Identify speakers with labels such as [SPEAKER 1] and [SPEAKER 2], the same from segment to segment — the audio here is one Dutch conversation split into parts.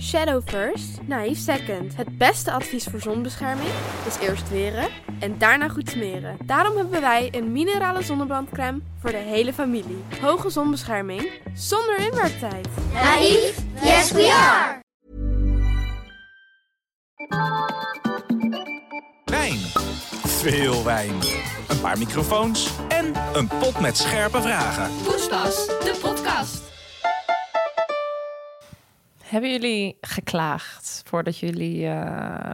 [SPEAKER 1] Shadow first, naïef second. Het beste advies voor zonbescherming is eerst weren en daarna goed smeren. Daarom hebben wij een minerale zonnebrandcrème voor de hele familie. Hoge zonbescherming zonder inwerktijd.
[SPEAKER 2] Naïef? Yes, we are!
[SPEAKER 3] Wijn. Veel wijn. Een paar microfoons en een pot met scherpe vragen.
[SPEAKER 4] Poespas, de podcast.
[SPEAKER 5] Hebben jullie geklaagd voordat jullie eh,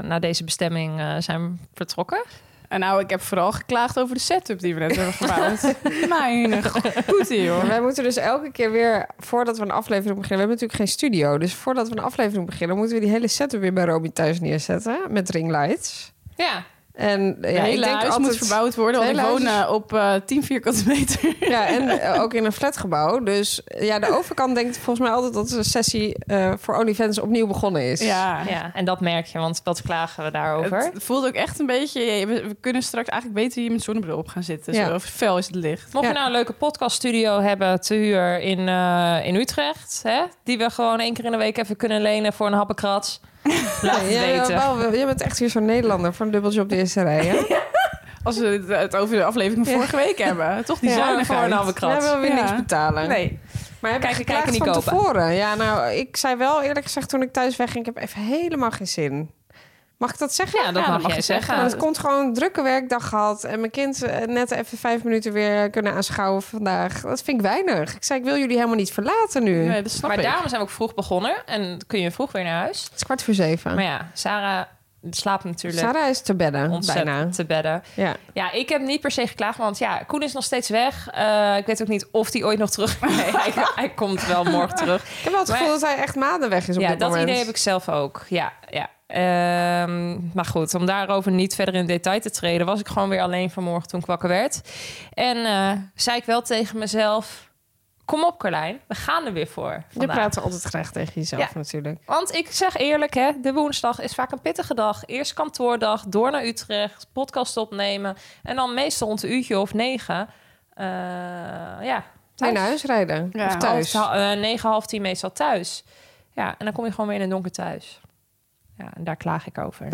[SPEAKER 5] naar deze bestemming eh, zijn vertrokken?
[SPEAKER 6] En nou, ik heb vooral geklaagd over de setup die we net hebben gebouwd. Mijn goeie hoor.
[SPEAKER 7] Wij moeten dus elke keer weer, voordat we een aflevering beginnen... We hebben natuurlijk geen studio, dus voordat we een aflevering beginnen... moeten we die hele setup weer bij Romy thuis neerzetten. Met ringlights.
[SPEAKER 5] Ja.
[SPEAKER 7] En eh, ja,
[SPEAKER 6] Ja, het
[SPEAKER 7] ik
[SPEAKER 6] hele
[SPEAKER 7] denk
[SPEAKER 6] huis
[SPEAKER 7] altijd,
[SPEAKER 6] moet verbouwd worden, want ik
[SPEAKER 7] Het hele
[SPEAKER 6] woon
[SPEAKER 7] huis
[SPEAKER 6] eh, op eh 10 vierkante meter.
[SPEAKER 7] Ja, en eh, ook in een flatgebouw. Dus eh, ja, de overkant denkt volgens mij altijd dat de sessie eh, voor OnlyFans opnieuw begonnen is.
[SPEAKER 5] ja. En dat merk je, want wat klagen we daarover?
[SPEAKER 6] Het voelt ook echt een beetje... ja, We, we kunnen straks eigenlijk beter hier met zonnebril op gaan zitten.
[SPEAKER 7] Ja.
[SPEAKER 6] Zo fel is het licht.
[SPEAKER 5] Mocht je
[SPEAKER 7] Ja.
[SPEAKER 5] nou een leuke podcaststudio hebben te huur in, eh, in Utrecht, hè? die we gewoon één keer in de week even kunnen lenen voor een happenkrats, laat het
[SPEAKER 7] Jij, eh,
[SPEAKER 5] weten.
[SPEAKER 7] wel, wel, jij bent echt hier zo'n Nederlander voor een dubbeltje op de eerste rij. Hè?
[SPEAKER 6] Als we het, het over de aflevering van
[SPEAKER 7] Ja.
[SPEAKER 6] vorige week hebben. Toch die
[SPEAKER 7] Ja,
[SPEAKER 6] zuinigheid.
[SPEAKER 5] voor een
[SPEAKER 7] Jij
[SPEAKER 5] happenkrat.
[SPEAKER 7] wil weer
[SPEAKER 6] Ja.
[SPEAKER 7] niks betalen.
[SPEAKER 6] Nee.
[SPEAKER 7] Maar heb
[SPEAKER 5] Kijken,
[SPEAKER 7] je
[SPEAKER 5] kijken,
[SPEAKER 7] geklaagd
[SPEAKER 5] niet
[SPEAKER 7] van
[SPEAKER 5] kopen.
[SPEAKER 7] tevoren? Ja, nou, ik zei wel eerlijk gezegd toen ik thuis wegging... ik heb even helemaal geen zin. Mag ik dat zeggen?
[SPEAKER 5] Ja, dat mag, jij zeggen.
[SPEAKER 7] Maar het komt gewoon een drukke werkdag gehad. En mijn kind eh, net even vijf minuten weer kunnen aanschouwen vandaag. Dat vind ik weinig. Ik zei, ik wil jullie helemaal niet verlaten nu.
[SPEAKER 6] nee, dat snap
[SPEAKER 5] Maar
[SPEAKER 6] ik.
[SPEAKER 5] daarom zijn we ook vroeg begonnen en kun je vroeg weer naar huis.
[SPEAKER 7] Het is kwart voor zeven.
[SPEAKER 5] Maar ja, Sarah slaapt natuurlijk
[SPEAKER 7] Sarah is te bedden,
[SPEAKER 5] ontzettend
[SPEAKER 7] bijna.
[SPEAKER 5] te bedden.
[SPEAKER 7] Ja.
[SPEAKER 5] Ja, ik heb niet per se geklaagd, want ja, Koen is nog steeds weg. Eh, ik weet ook niet of hij ooit nog terug... Nee, hij, hij komt wel morgen terug.
[SPEAKER 7] Ik heb wel het gevoel
[SPEAKER 5] Maar-
[SPEAKER 7] dat hij echt maanden weg is op
[SPEAKER 5] ja,
[SPEAKER 7] dit
[SPEAKER 5] dat
[SPEAKER 7] moment.
[SPEAKER 5] idee heb ik zelf ook. Ja, ja. Ehm, maar goed, om daarover niet verder in detail te treden, was ik gewoon weer alleen vanmorgen toen ik wakker werd. En eh, zei ik wel tegen mezelf: Kom op, Carlijn, we gaan er weer voor.
[SPEAKER 7] Je
[SPEAKER 5] Vandaag.
[SPEAKER 7] praat altijd graag tegen jezelf
[SPEAKER 5] Ja.
[SPEAKER 7] natuurlijk.
[SPEAKER 5] Want ik zeg eerlijk, hè, de woensdag is vaak een pittige dag. Eerst kantoordag, door naar Utrecht, podcast opnemen. En dan meestal rond een uurtje of negen. eh, ja,
[SPEAKER 7] Nee,
[SPEAKER 5] thuis.
[SPEAKER 7] naar huis rijden.
[SPEAKER 6] Ja.
[SPEAKER 7] Of thuis.
[SPEAKER 5] Half, eh, negen, half tien meestal thuis. Ja, en dan kom je gewoon weer in het donker thuis. Ja, en daar klaag ik over.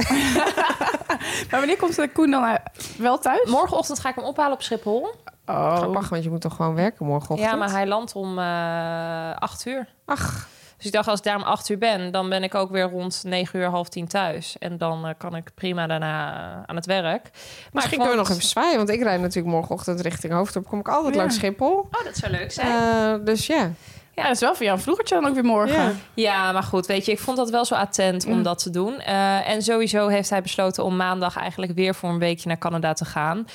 [SPEAKER 6] Maar wanneer komt de Koen dan uit- wel thuis?
[SPEAKER 5] Morgenochtend ga ik hem ophalen op Schiphol.
[SPEAKER 6] Oh.
[SPEAKER 7] Grappig, want je moet toch gewoon werken morgenochtend?
[SPEAKER 5] Ja, maar hij landt om eh acht uur.
[SPEAKER 7] Ach,
[SPEAKER 5] Dus ik dacht, als ik daar om acht uur ben, dan ben ik ook weer rond negen uur, half tien thuis. En dan eh, kan ik prima daarna eh, aan het werk. Maar ik
[SPEAKER 7] misschien
[SPEAKER 5] vond-
[SPEAKER 7] kunnen we nog even zwaaien. Want ik rijd natuurlijk morgenochtend richting Hoofddorp. Kom ik altijd
[SPEAKER 6] Ja.
[SPEAKER 7] langs Schiphol.
[SPEAKER 5] Oh, dat zou leuk zijn.
[SPEAKER 7] Eh, dus ja.
[SPEAKER 6] Ja, dat is wel voor jou een vroegertje dan ook weer morgen.
[SPEAKER 7] Ja.
[SPEAKER 5] Ja, maar goed, weet je, ik vond dat wel zo attent
[SPEAKER 7] Mm.
[SPEAKER 5] om dat te doen. Eh, en sowieso heeft hij besloten om maandag eigenlijk weer voor een weekje naar Canada te gaan.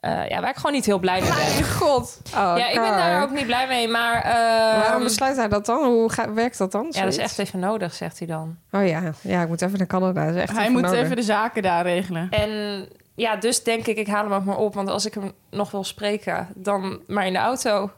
[SPEAKER 5] Eh, ja, waar ik gewoon niet heel blij mee ben.
[SPEAKER 7] God. Oh,
[SPEAKER 5] Ja, ik ben daar
[SPEAKER 7] Kar.
[SPEAKER 5] ook niet blij mee, maar... eh,
[SPEAKER 7] Waarom besluit hij dat dan? Hoe ga- werkt dat dan?
[SPEAKER 5] ja, dat is
[SPEAKER 7] Zoiets?
[SPEAKER 5] echt even nodig, zegt hij dan.
[SPEAKER 7] Oh ja. ja, ik moet even naar Canada. Dat is echt
[SPEAKER 6] Hij
[SPEAKER 7] even
[SPEAKER 6] moet
[SPEAKER 7] nodig.
[SPEAKER 6] even de zaken daar regelen.
[SPEAKER 5] En ja, dus denk ik, ik haal hem ook maar op. Want als ik hem nog wil spreken, dan maar in de auto.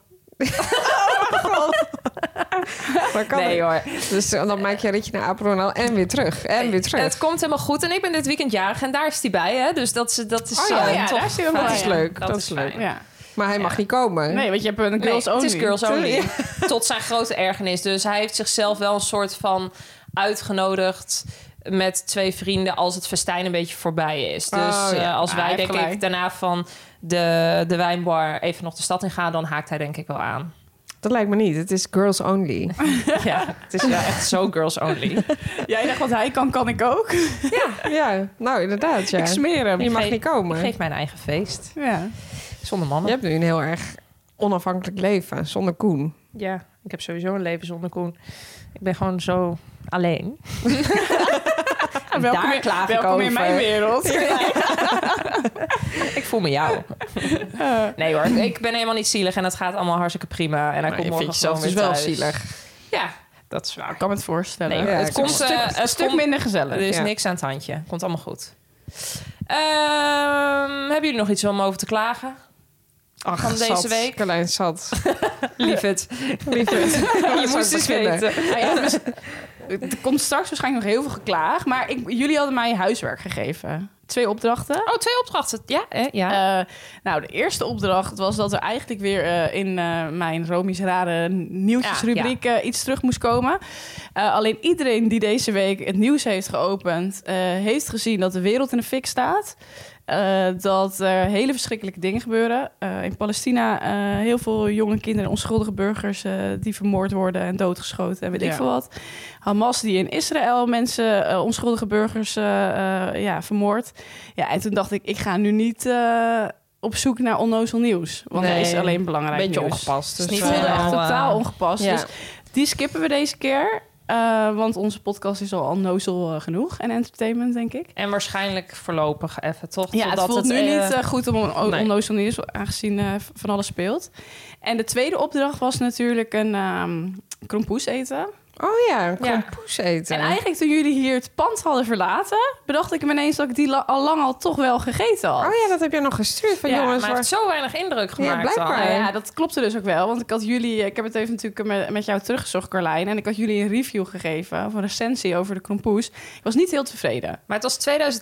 [SPEAKER 7] Maar kan
[SPEAKER 5] Nee,
[SPEAKER 7] nee hoor. Dus dan maak je een ritje naar Apeldoorn al en weer terug. En weer terug.
[SPEAKER 5] Het komt helemaal goed. En ik ben dit weekend jarig en daar is hij bij, hè. Dus dat is, dat is
[SPEAKER 7] Oh
[SPEAKER 5] eh,
[SPEAKER 7] ja,
[SPEAKER 6] ja,
[SPEAKER 5] toch
[SPEAKER 6] daar is hij
[SPEAKER 5] fijn.
[SPEAKER 6] wel
[SPEAKER 7] dat
[SPEAKER 6] bij,
[SPEAKER 7] is
[SPEAKER 6] ja.
[SPEAKER 7] leuk.
[SPEAKER 5] Dat
[SPEAKER 7] Dat,
[SPEAKER 5] is
[SPEAKER 7] is leuk.
[SPEAKER 6] Ja.
[SPEAKER 7] Maar hij mag niet komen.
[SPEAKER 6] Nee, want je hebt een
[SPEAKER 5] Nee,
[SPEAKER 6] girls only.
[SPEAKER 5] Het is girls only. Tot zijn grote ergernis. Dus hij heeft zichzelf wel een soort van uitgenodigd met twee vrienden als het festijn een beetje voorbij is. Dus
[SPEAKER 7] Oh, ja.
[SPEAKER 5] eh, als
[SPEAKER 6] Ah,
[SPEAKER 5] wij
[SPEAKER 6] hij heeft
[SPEAKER 5] denk ik
[SPEAKER 6] gelijk.
[SPEAKER 5] daarna van de, de wijnbar even nog de stad in gaan, dan haakt hij denk ik wel aan.
[SPEAKER 7] Dat lijkt me niet. Het is girls only.
[SPEAKER 5] ja, het is wel echt zo girls only.
[SPEAKER 6] Jij dacht wat hij kan, kan ik ook.
[SPEAKER 7] ja, nou inderdaad. Ja.
[SPEAKER 6] Ik smeer hem.
[SPEAKER 7] je mag
[SPEAKER 5] geef-
[SPEAKER 7] niet
[SPEAKER 5] Ik
[SPEAKER 7] komen.
[SPEAKER 5] geef mijn eigen feest.
[SPEAKER 6] Ja.
[SPEAKER 5] Zonder
[SPEAKER 7] Je
[SPEAKER 5] mannen.
[SPEAKER 7] hebt nu een heel erg onafhankelijk leven zonder Koen.
[SPEAKER 5] Ja, ik heb sowieso een leven zonder Koen. Ik ben gewoon zo alleen.
[SPEAKER 6] welkom
[SPEAKER 5] Daar
[SPEAKER 6] in-
[SPEAKER 5] klaag ik
[SPEAKER 6] welkom in
[SPEAKER 5] over.
[SPEAKER 6] mijn wereld.
[SPEAKER 5] Ik voel me jou. Nee hoor, ik ben helemaal niet zielig en dat gaat allemaal hartstikke prima. En hij komt morgen gewoon
[SPEAKER 6] dus
[SPEAKER 5] weer thuis. Ja, dat is waar.
[SPEAKER 6] Ik kan me het voorstellen.
[SPEAKER 5] Nee,
[SPEAKER 7] Ja,
[SPEAKER 5] het
[SPEAKER 7] ik
[SPEAKER 5] komt
[SPEAKER 7] kan
[SPEAKER 5] eh,
[SPEAKER 6] een
[SPEAKER 5] het
[SPEAKER 6] stuk, een stuk
[SPEAKER 5] komt-
[SPEAKER 6] minder gezellig.
[SPEAKER 5] Er is
[SPEAKER 7] ja.
[SPEAKER 5] niks aan het handje. Komt allemaal goed. Ehm, hebben jullie nog iets om over te klagen?
[SPEAKER 7] Ach,
[SPEAKER 5] Van deze
[SPEAKER 7] zat.
[SPEAKER 5] week?
[SPEAKER 7] Carlijn zat.
[SPEAKER 5] Lief het.
[SPEAKER 7] Lief het.
[SPEAKER 5] Je moest eens weten.
[SPEAKER 6] Hij heeft, bes- Ah, dus- er komt straks waarschijnlijk nog heel veel geklaag. Maar ik, jullie hadden mij huiswerk gegeven. Twee opdrachten.
[SPEAKER 5] Oh, twee opdrachten. Ja, hè? ja.
[SPEAKER 6] Eh, nou, de eerste opdracht was dat er eigenlijk weer eh, in eh, mijn Romisch rare nieuwtjesrubriek eh, iets terug moest komen. Eh, alleen iedereen die deze week het nieuws heeft geopend, eh, heeft gezien dat de wereld in de fik staat. Eh, dat er hele verschrikkelijke dingen gebeuren. Eh, in Palestina eh, heel veel jonge kinderen, onschuldige burgers eh, die vermoord worden en doodgeschoten en weet ik
[SPEAKER 7] Ja.
[SPEAKER 6] veel wat. Hamas die in Israël mensen, eh, onschuldige burgers, eh, eh, ja, vermoord. Ja, en toen dacht ik, ik ga nu niet eh, op zoek naar onnozel nieuws. Want
[SPEAKER 7] Nee,
[SPEAKER 6] dat is alleen belangrijk
[SPEAKER 7] Beetje
[SPEAKER 6] nieuws.
[SPEAKER 7] ongepast. Dus
[SPEAKER 5] Niet
[SPEAKER 6] Ik voelde
[SPEAKER 5] Ja.
[SPEAKER 6] echt
[SPEAKER 5] Nou, eh,
[SPEAKER 6] totaal ongepast.
[SPEAKER 7] ja.
[SPEAKER 6] Dus die skippen we deze keer. eh, want onze podcast is al onnozel eh, genoeg. En entertainment, denk ik.
[SPEAKER 5] En waarschijnlijk voorlopig even, toch?
[SPEAKER 6] Ja, het
[SPEAKER 5] Totdat
[SPEAKER 6] voelt nu
[SPEAKER 5] eh,
[SPEAKER 6] niet eh, goed om on-
[SPEAKER 5] nee.
[SPEAKER 6] onnozel nieuws, aangezien eh, v- van alles speelt. En de tweede opdracht was natuurlijk een ehm krompoes eten.
[SPEAKER 7] Oh ja, een
[SPEAKER 5] Ja.
[SPEAKER 7] krompoes eten.
[SPEAKER 6] En eigenlijk toen jullie hier het pand hadden verlaten, bedacht ik me ineens dat ik die la- al lang al toch wel gegeten had.
[SPEAKER 7] Oh ja, dat heb je nog gestuurd van
[SPEAKER 6] Ja,
[SPEAKER 7] jongens.
[SPEAKER 5] Maar het
[SPEAKER 7] waar-
[SPEAKER 5] heeft zo weinig indruk gemaakt.
[SPEAKER 7] blijkbaar.
[SPEAKER 5] al.
[SPEAKER 6] Nou ja, dat klopte dus ook wel. Want ik had jullie, ik heb het even natuurlijk met, met jou teruggezocht, Carlijn. En ik had jullie een review gegeven, of een recensie over de krompoes. Ik was niet heel tevreden.
[SPEAKER 5] Maar het was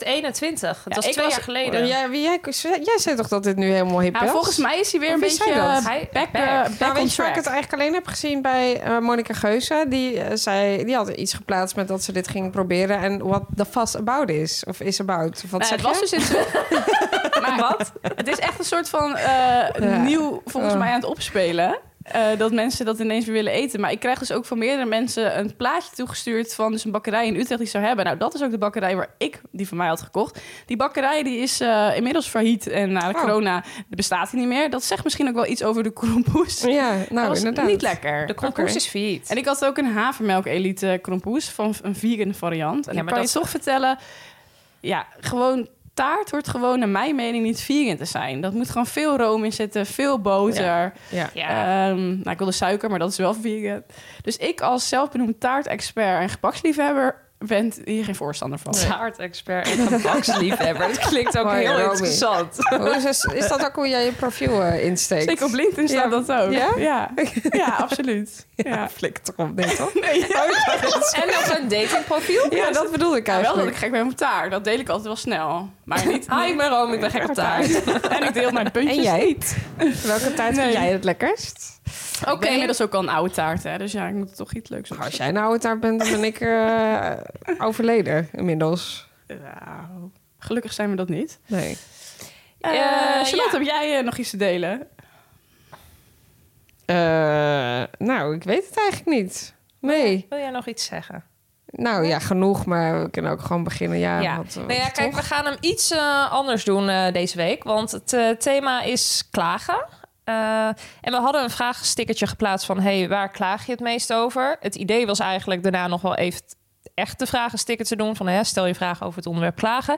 [SPEAKER 5] 2021. Het
[SPEAKER 6] Ja,
[SPEAKER 5] was
[SPEAKER 6] ik
[SPEAKER 5] twee
[SPEAKER 6] was-
[SPEAKER 5] jaar geleden.
[SPEAKER 7] Oh, Jij, wie- jij, jij zei toch dat dit nu helemaal hip
[SPEAKER 6] Nou,
[SPEAKER 7] is?
[SPEAKER 6] volgens mij is hij weer
[SPEAKER 7] Of
[SPEAKER 6] een
[SPEAKER 7] wie zei
[SPEAKER 6] beetje
[SPEAKER 7] dat?
[SPEAKER 6] eh,
[SPEAKER 5] Hij-
[SPEAKER 6] back,
[SPEAKER 5] back.
[SPEAKER 6] eh,
[SPEAKER 5] Nou,
[SPEAKER 6] back
[SPEAKER 7] Nou,
[SPEAKER 6] on
[SPEAKER 7] weet je waar ik
[SPEAKER 6] track.
[SPEAKER 7] het eigenlijk alleen heb gezien bij eh Monica Geuze? Die, eh, zei, die had iets geplaatst met dat ze dit ging proberen. En what the fuss about is. Of is about. Of Wat
[SPEAKER 6] Nou,
[SPEAKER 7] zeg
[SPEAKER 6] het was
[SPEAKER 7] je?
[SPEAKER 6] dus in maar wat? Het is echt een soort van eh, nieuw, volgens
[SPEAKER 7] Oh.
[SPEAKER 6] mij, aan het opspelen. eh, dat mensen dat ineens weer willen eten. Maar ik krijg dus ook van meerdere mensen een plaatje toegestuurd van dus een bakkerij in Utrecht die ze hebben. Nou, dat is ook de bakkerij waar ik die van mij had gekocht. Die bakkerij die is eh, inmiddels failliet en na de
[SPEAKER 7] Oh.
[SPEAKER 6] corona bestaat die niet meer. Dat zegt misschien ook wel iets over de krompoes.
[SPEAKER 7] Ja,
[SPEAKER 6] Dat
[SPEAKER 7] nou
[SPEAKER 6] was
[SPEAKER 7] inderdaad.
[SPEAKER 6] niet lekker.
[SPEAKER 5] De komkoes is failliet.
[SPEAKER 6] En ik had ook een havermelk elite krompoes van een vegan variant. En
[SPEAKER 5] Ja,
[SPEAKER 6] ik
[SPEAKER 5] maar
[SPEAKER 6] kan
[SPEAKER 5] dat-
[SPEAKER 6] je toch vertellen, ja, gewoon taart hoort gewoon naar mijn mening niet vegan te zijn. Dat moet gewoon veel room in zitten, veel boter.
[SPEAKER 7] Ja.
[SPEAKER 5] ja.
[SPEAKER 6] Ehm, nou, ik wilde suiker, maar dat is wel vegan. Dus ik als zelfbenoemd taartexpert en gebaksliefhebber ben hier geen voorstander van.
[SPEAKER 5] Taartexpert en gebaksliefhebber. Dat klinkt ook
[SPEAKER 7] Hoi,
[SPEAKER 5] heel
[SPEAKER 7] Romy.
[SPEAKER 5] interessant.
[SPEAKER 7] Hoe is, is- is dat ook hoe jij je profiel eh, insteekt?
[SPEAKER 6] Zeker Dus op LinkedIn staat
[SPEAKER 7] Ja.
[SPEAKER 6] dat ook.
[SPEAKER 7] Ja?
[SPEAKER 6] ja, Ja, absoluut. Ja.
[SPEAKER 7] flikt erop, dit toch? Oh,
[SPEAKER 6] Nee, ja.
[SPEAKER 5] En op een datingprofiel?
[SPEAKER 7] Ja, dat bedoel ik
[SPEAKER 6] Ja, wel dat
[SPEAKER 7] eigenlijk.
[SPEAKER 6] ik gek ben op taart. Dat deel ik altijd wel snel. Maar niet...
[SPEAKER 5] Hi, ik ben Rome, ik ben gek op taart.
[SPEAKER 6] en ik deel mijn puntjes
[SPEAKER 7] En jij? Welke taart vind jij het lekkerst?
[SPEAKER 6] Oké. Ik ben inmiddels ook al een oude taart, hè. Dus ja, ik moet er toch iets leuks op.
[SPEAKER 7] Als jij nou het daar bent, dan ben ik eh, overleden inmiddels.
[SPEAKER 6] Nou, gelukkig zijn we dat niet.
[SPEAKER 7] Nee.
[SPEAKER 6] Eh
[SPEAKER 5] Eh,
[SPEAKER 6] Charlotte, heb jij eh, nog iets te delen?
[SPEAKER 7] Eh, nou, ik weet het eigenlijk niet. Nee.
[SPEAKER 5] Wil jij nog iets zeggen?
[SPEAKER 7] Nou ja, genoeg, maar we kunnen ook gewoon beginnen. Ja,
[SPEAKER 5] Ja.
[SPEAKER 7] Wat,
[SPEAKER 5] nou ja,
[SPEAKER 7] wat
[SPEAKER 5] kijk,
[SPEAKER 7] toch?
[SPEAKER 5] we gaan hem iets eh, anders doen eh, deze week. Want het eh, thema is klagen. Eh, en we hadden een vraagstickertje geplaatst van... hey, waar klaag je het meest over? Het idee was eigenlijk daarna nog wel even echt de vragensticker te doen. Van hè, stel je vragen over het onderwerp klagen.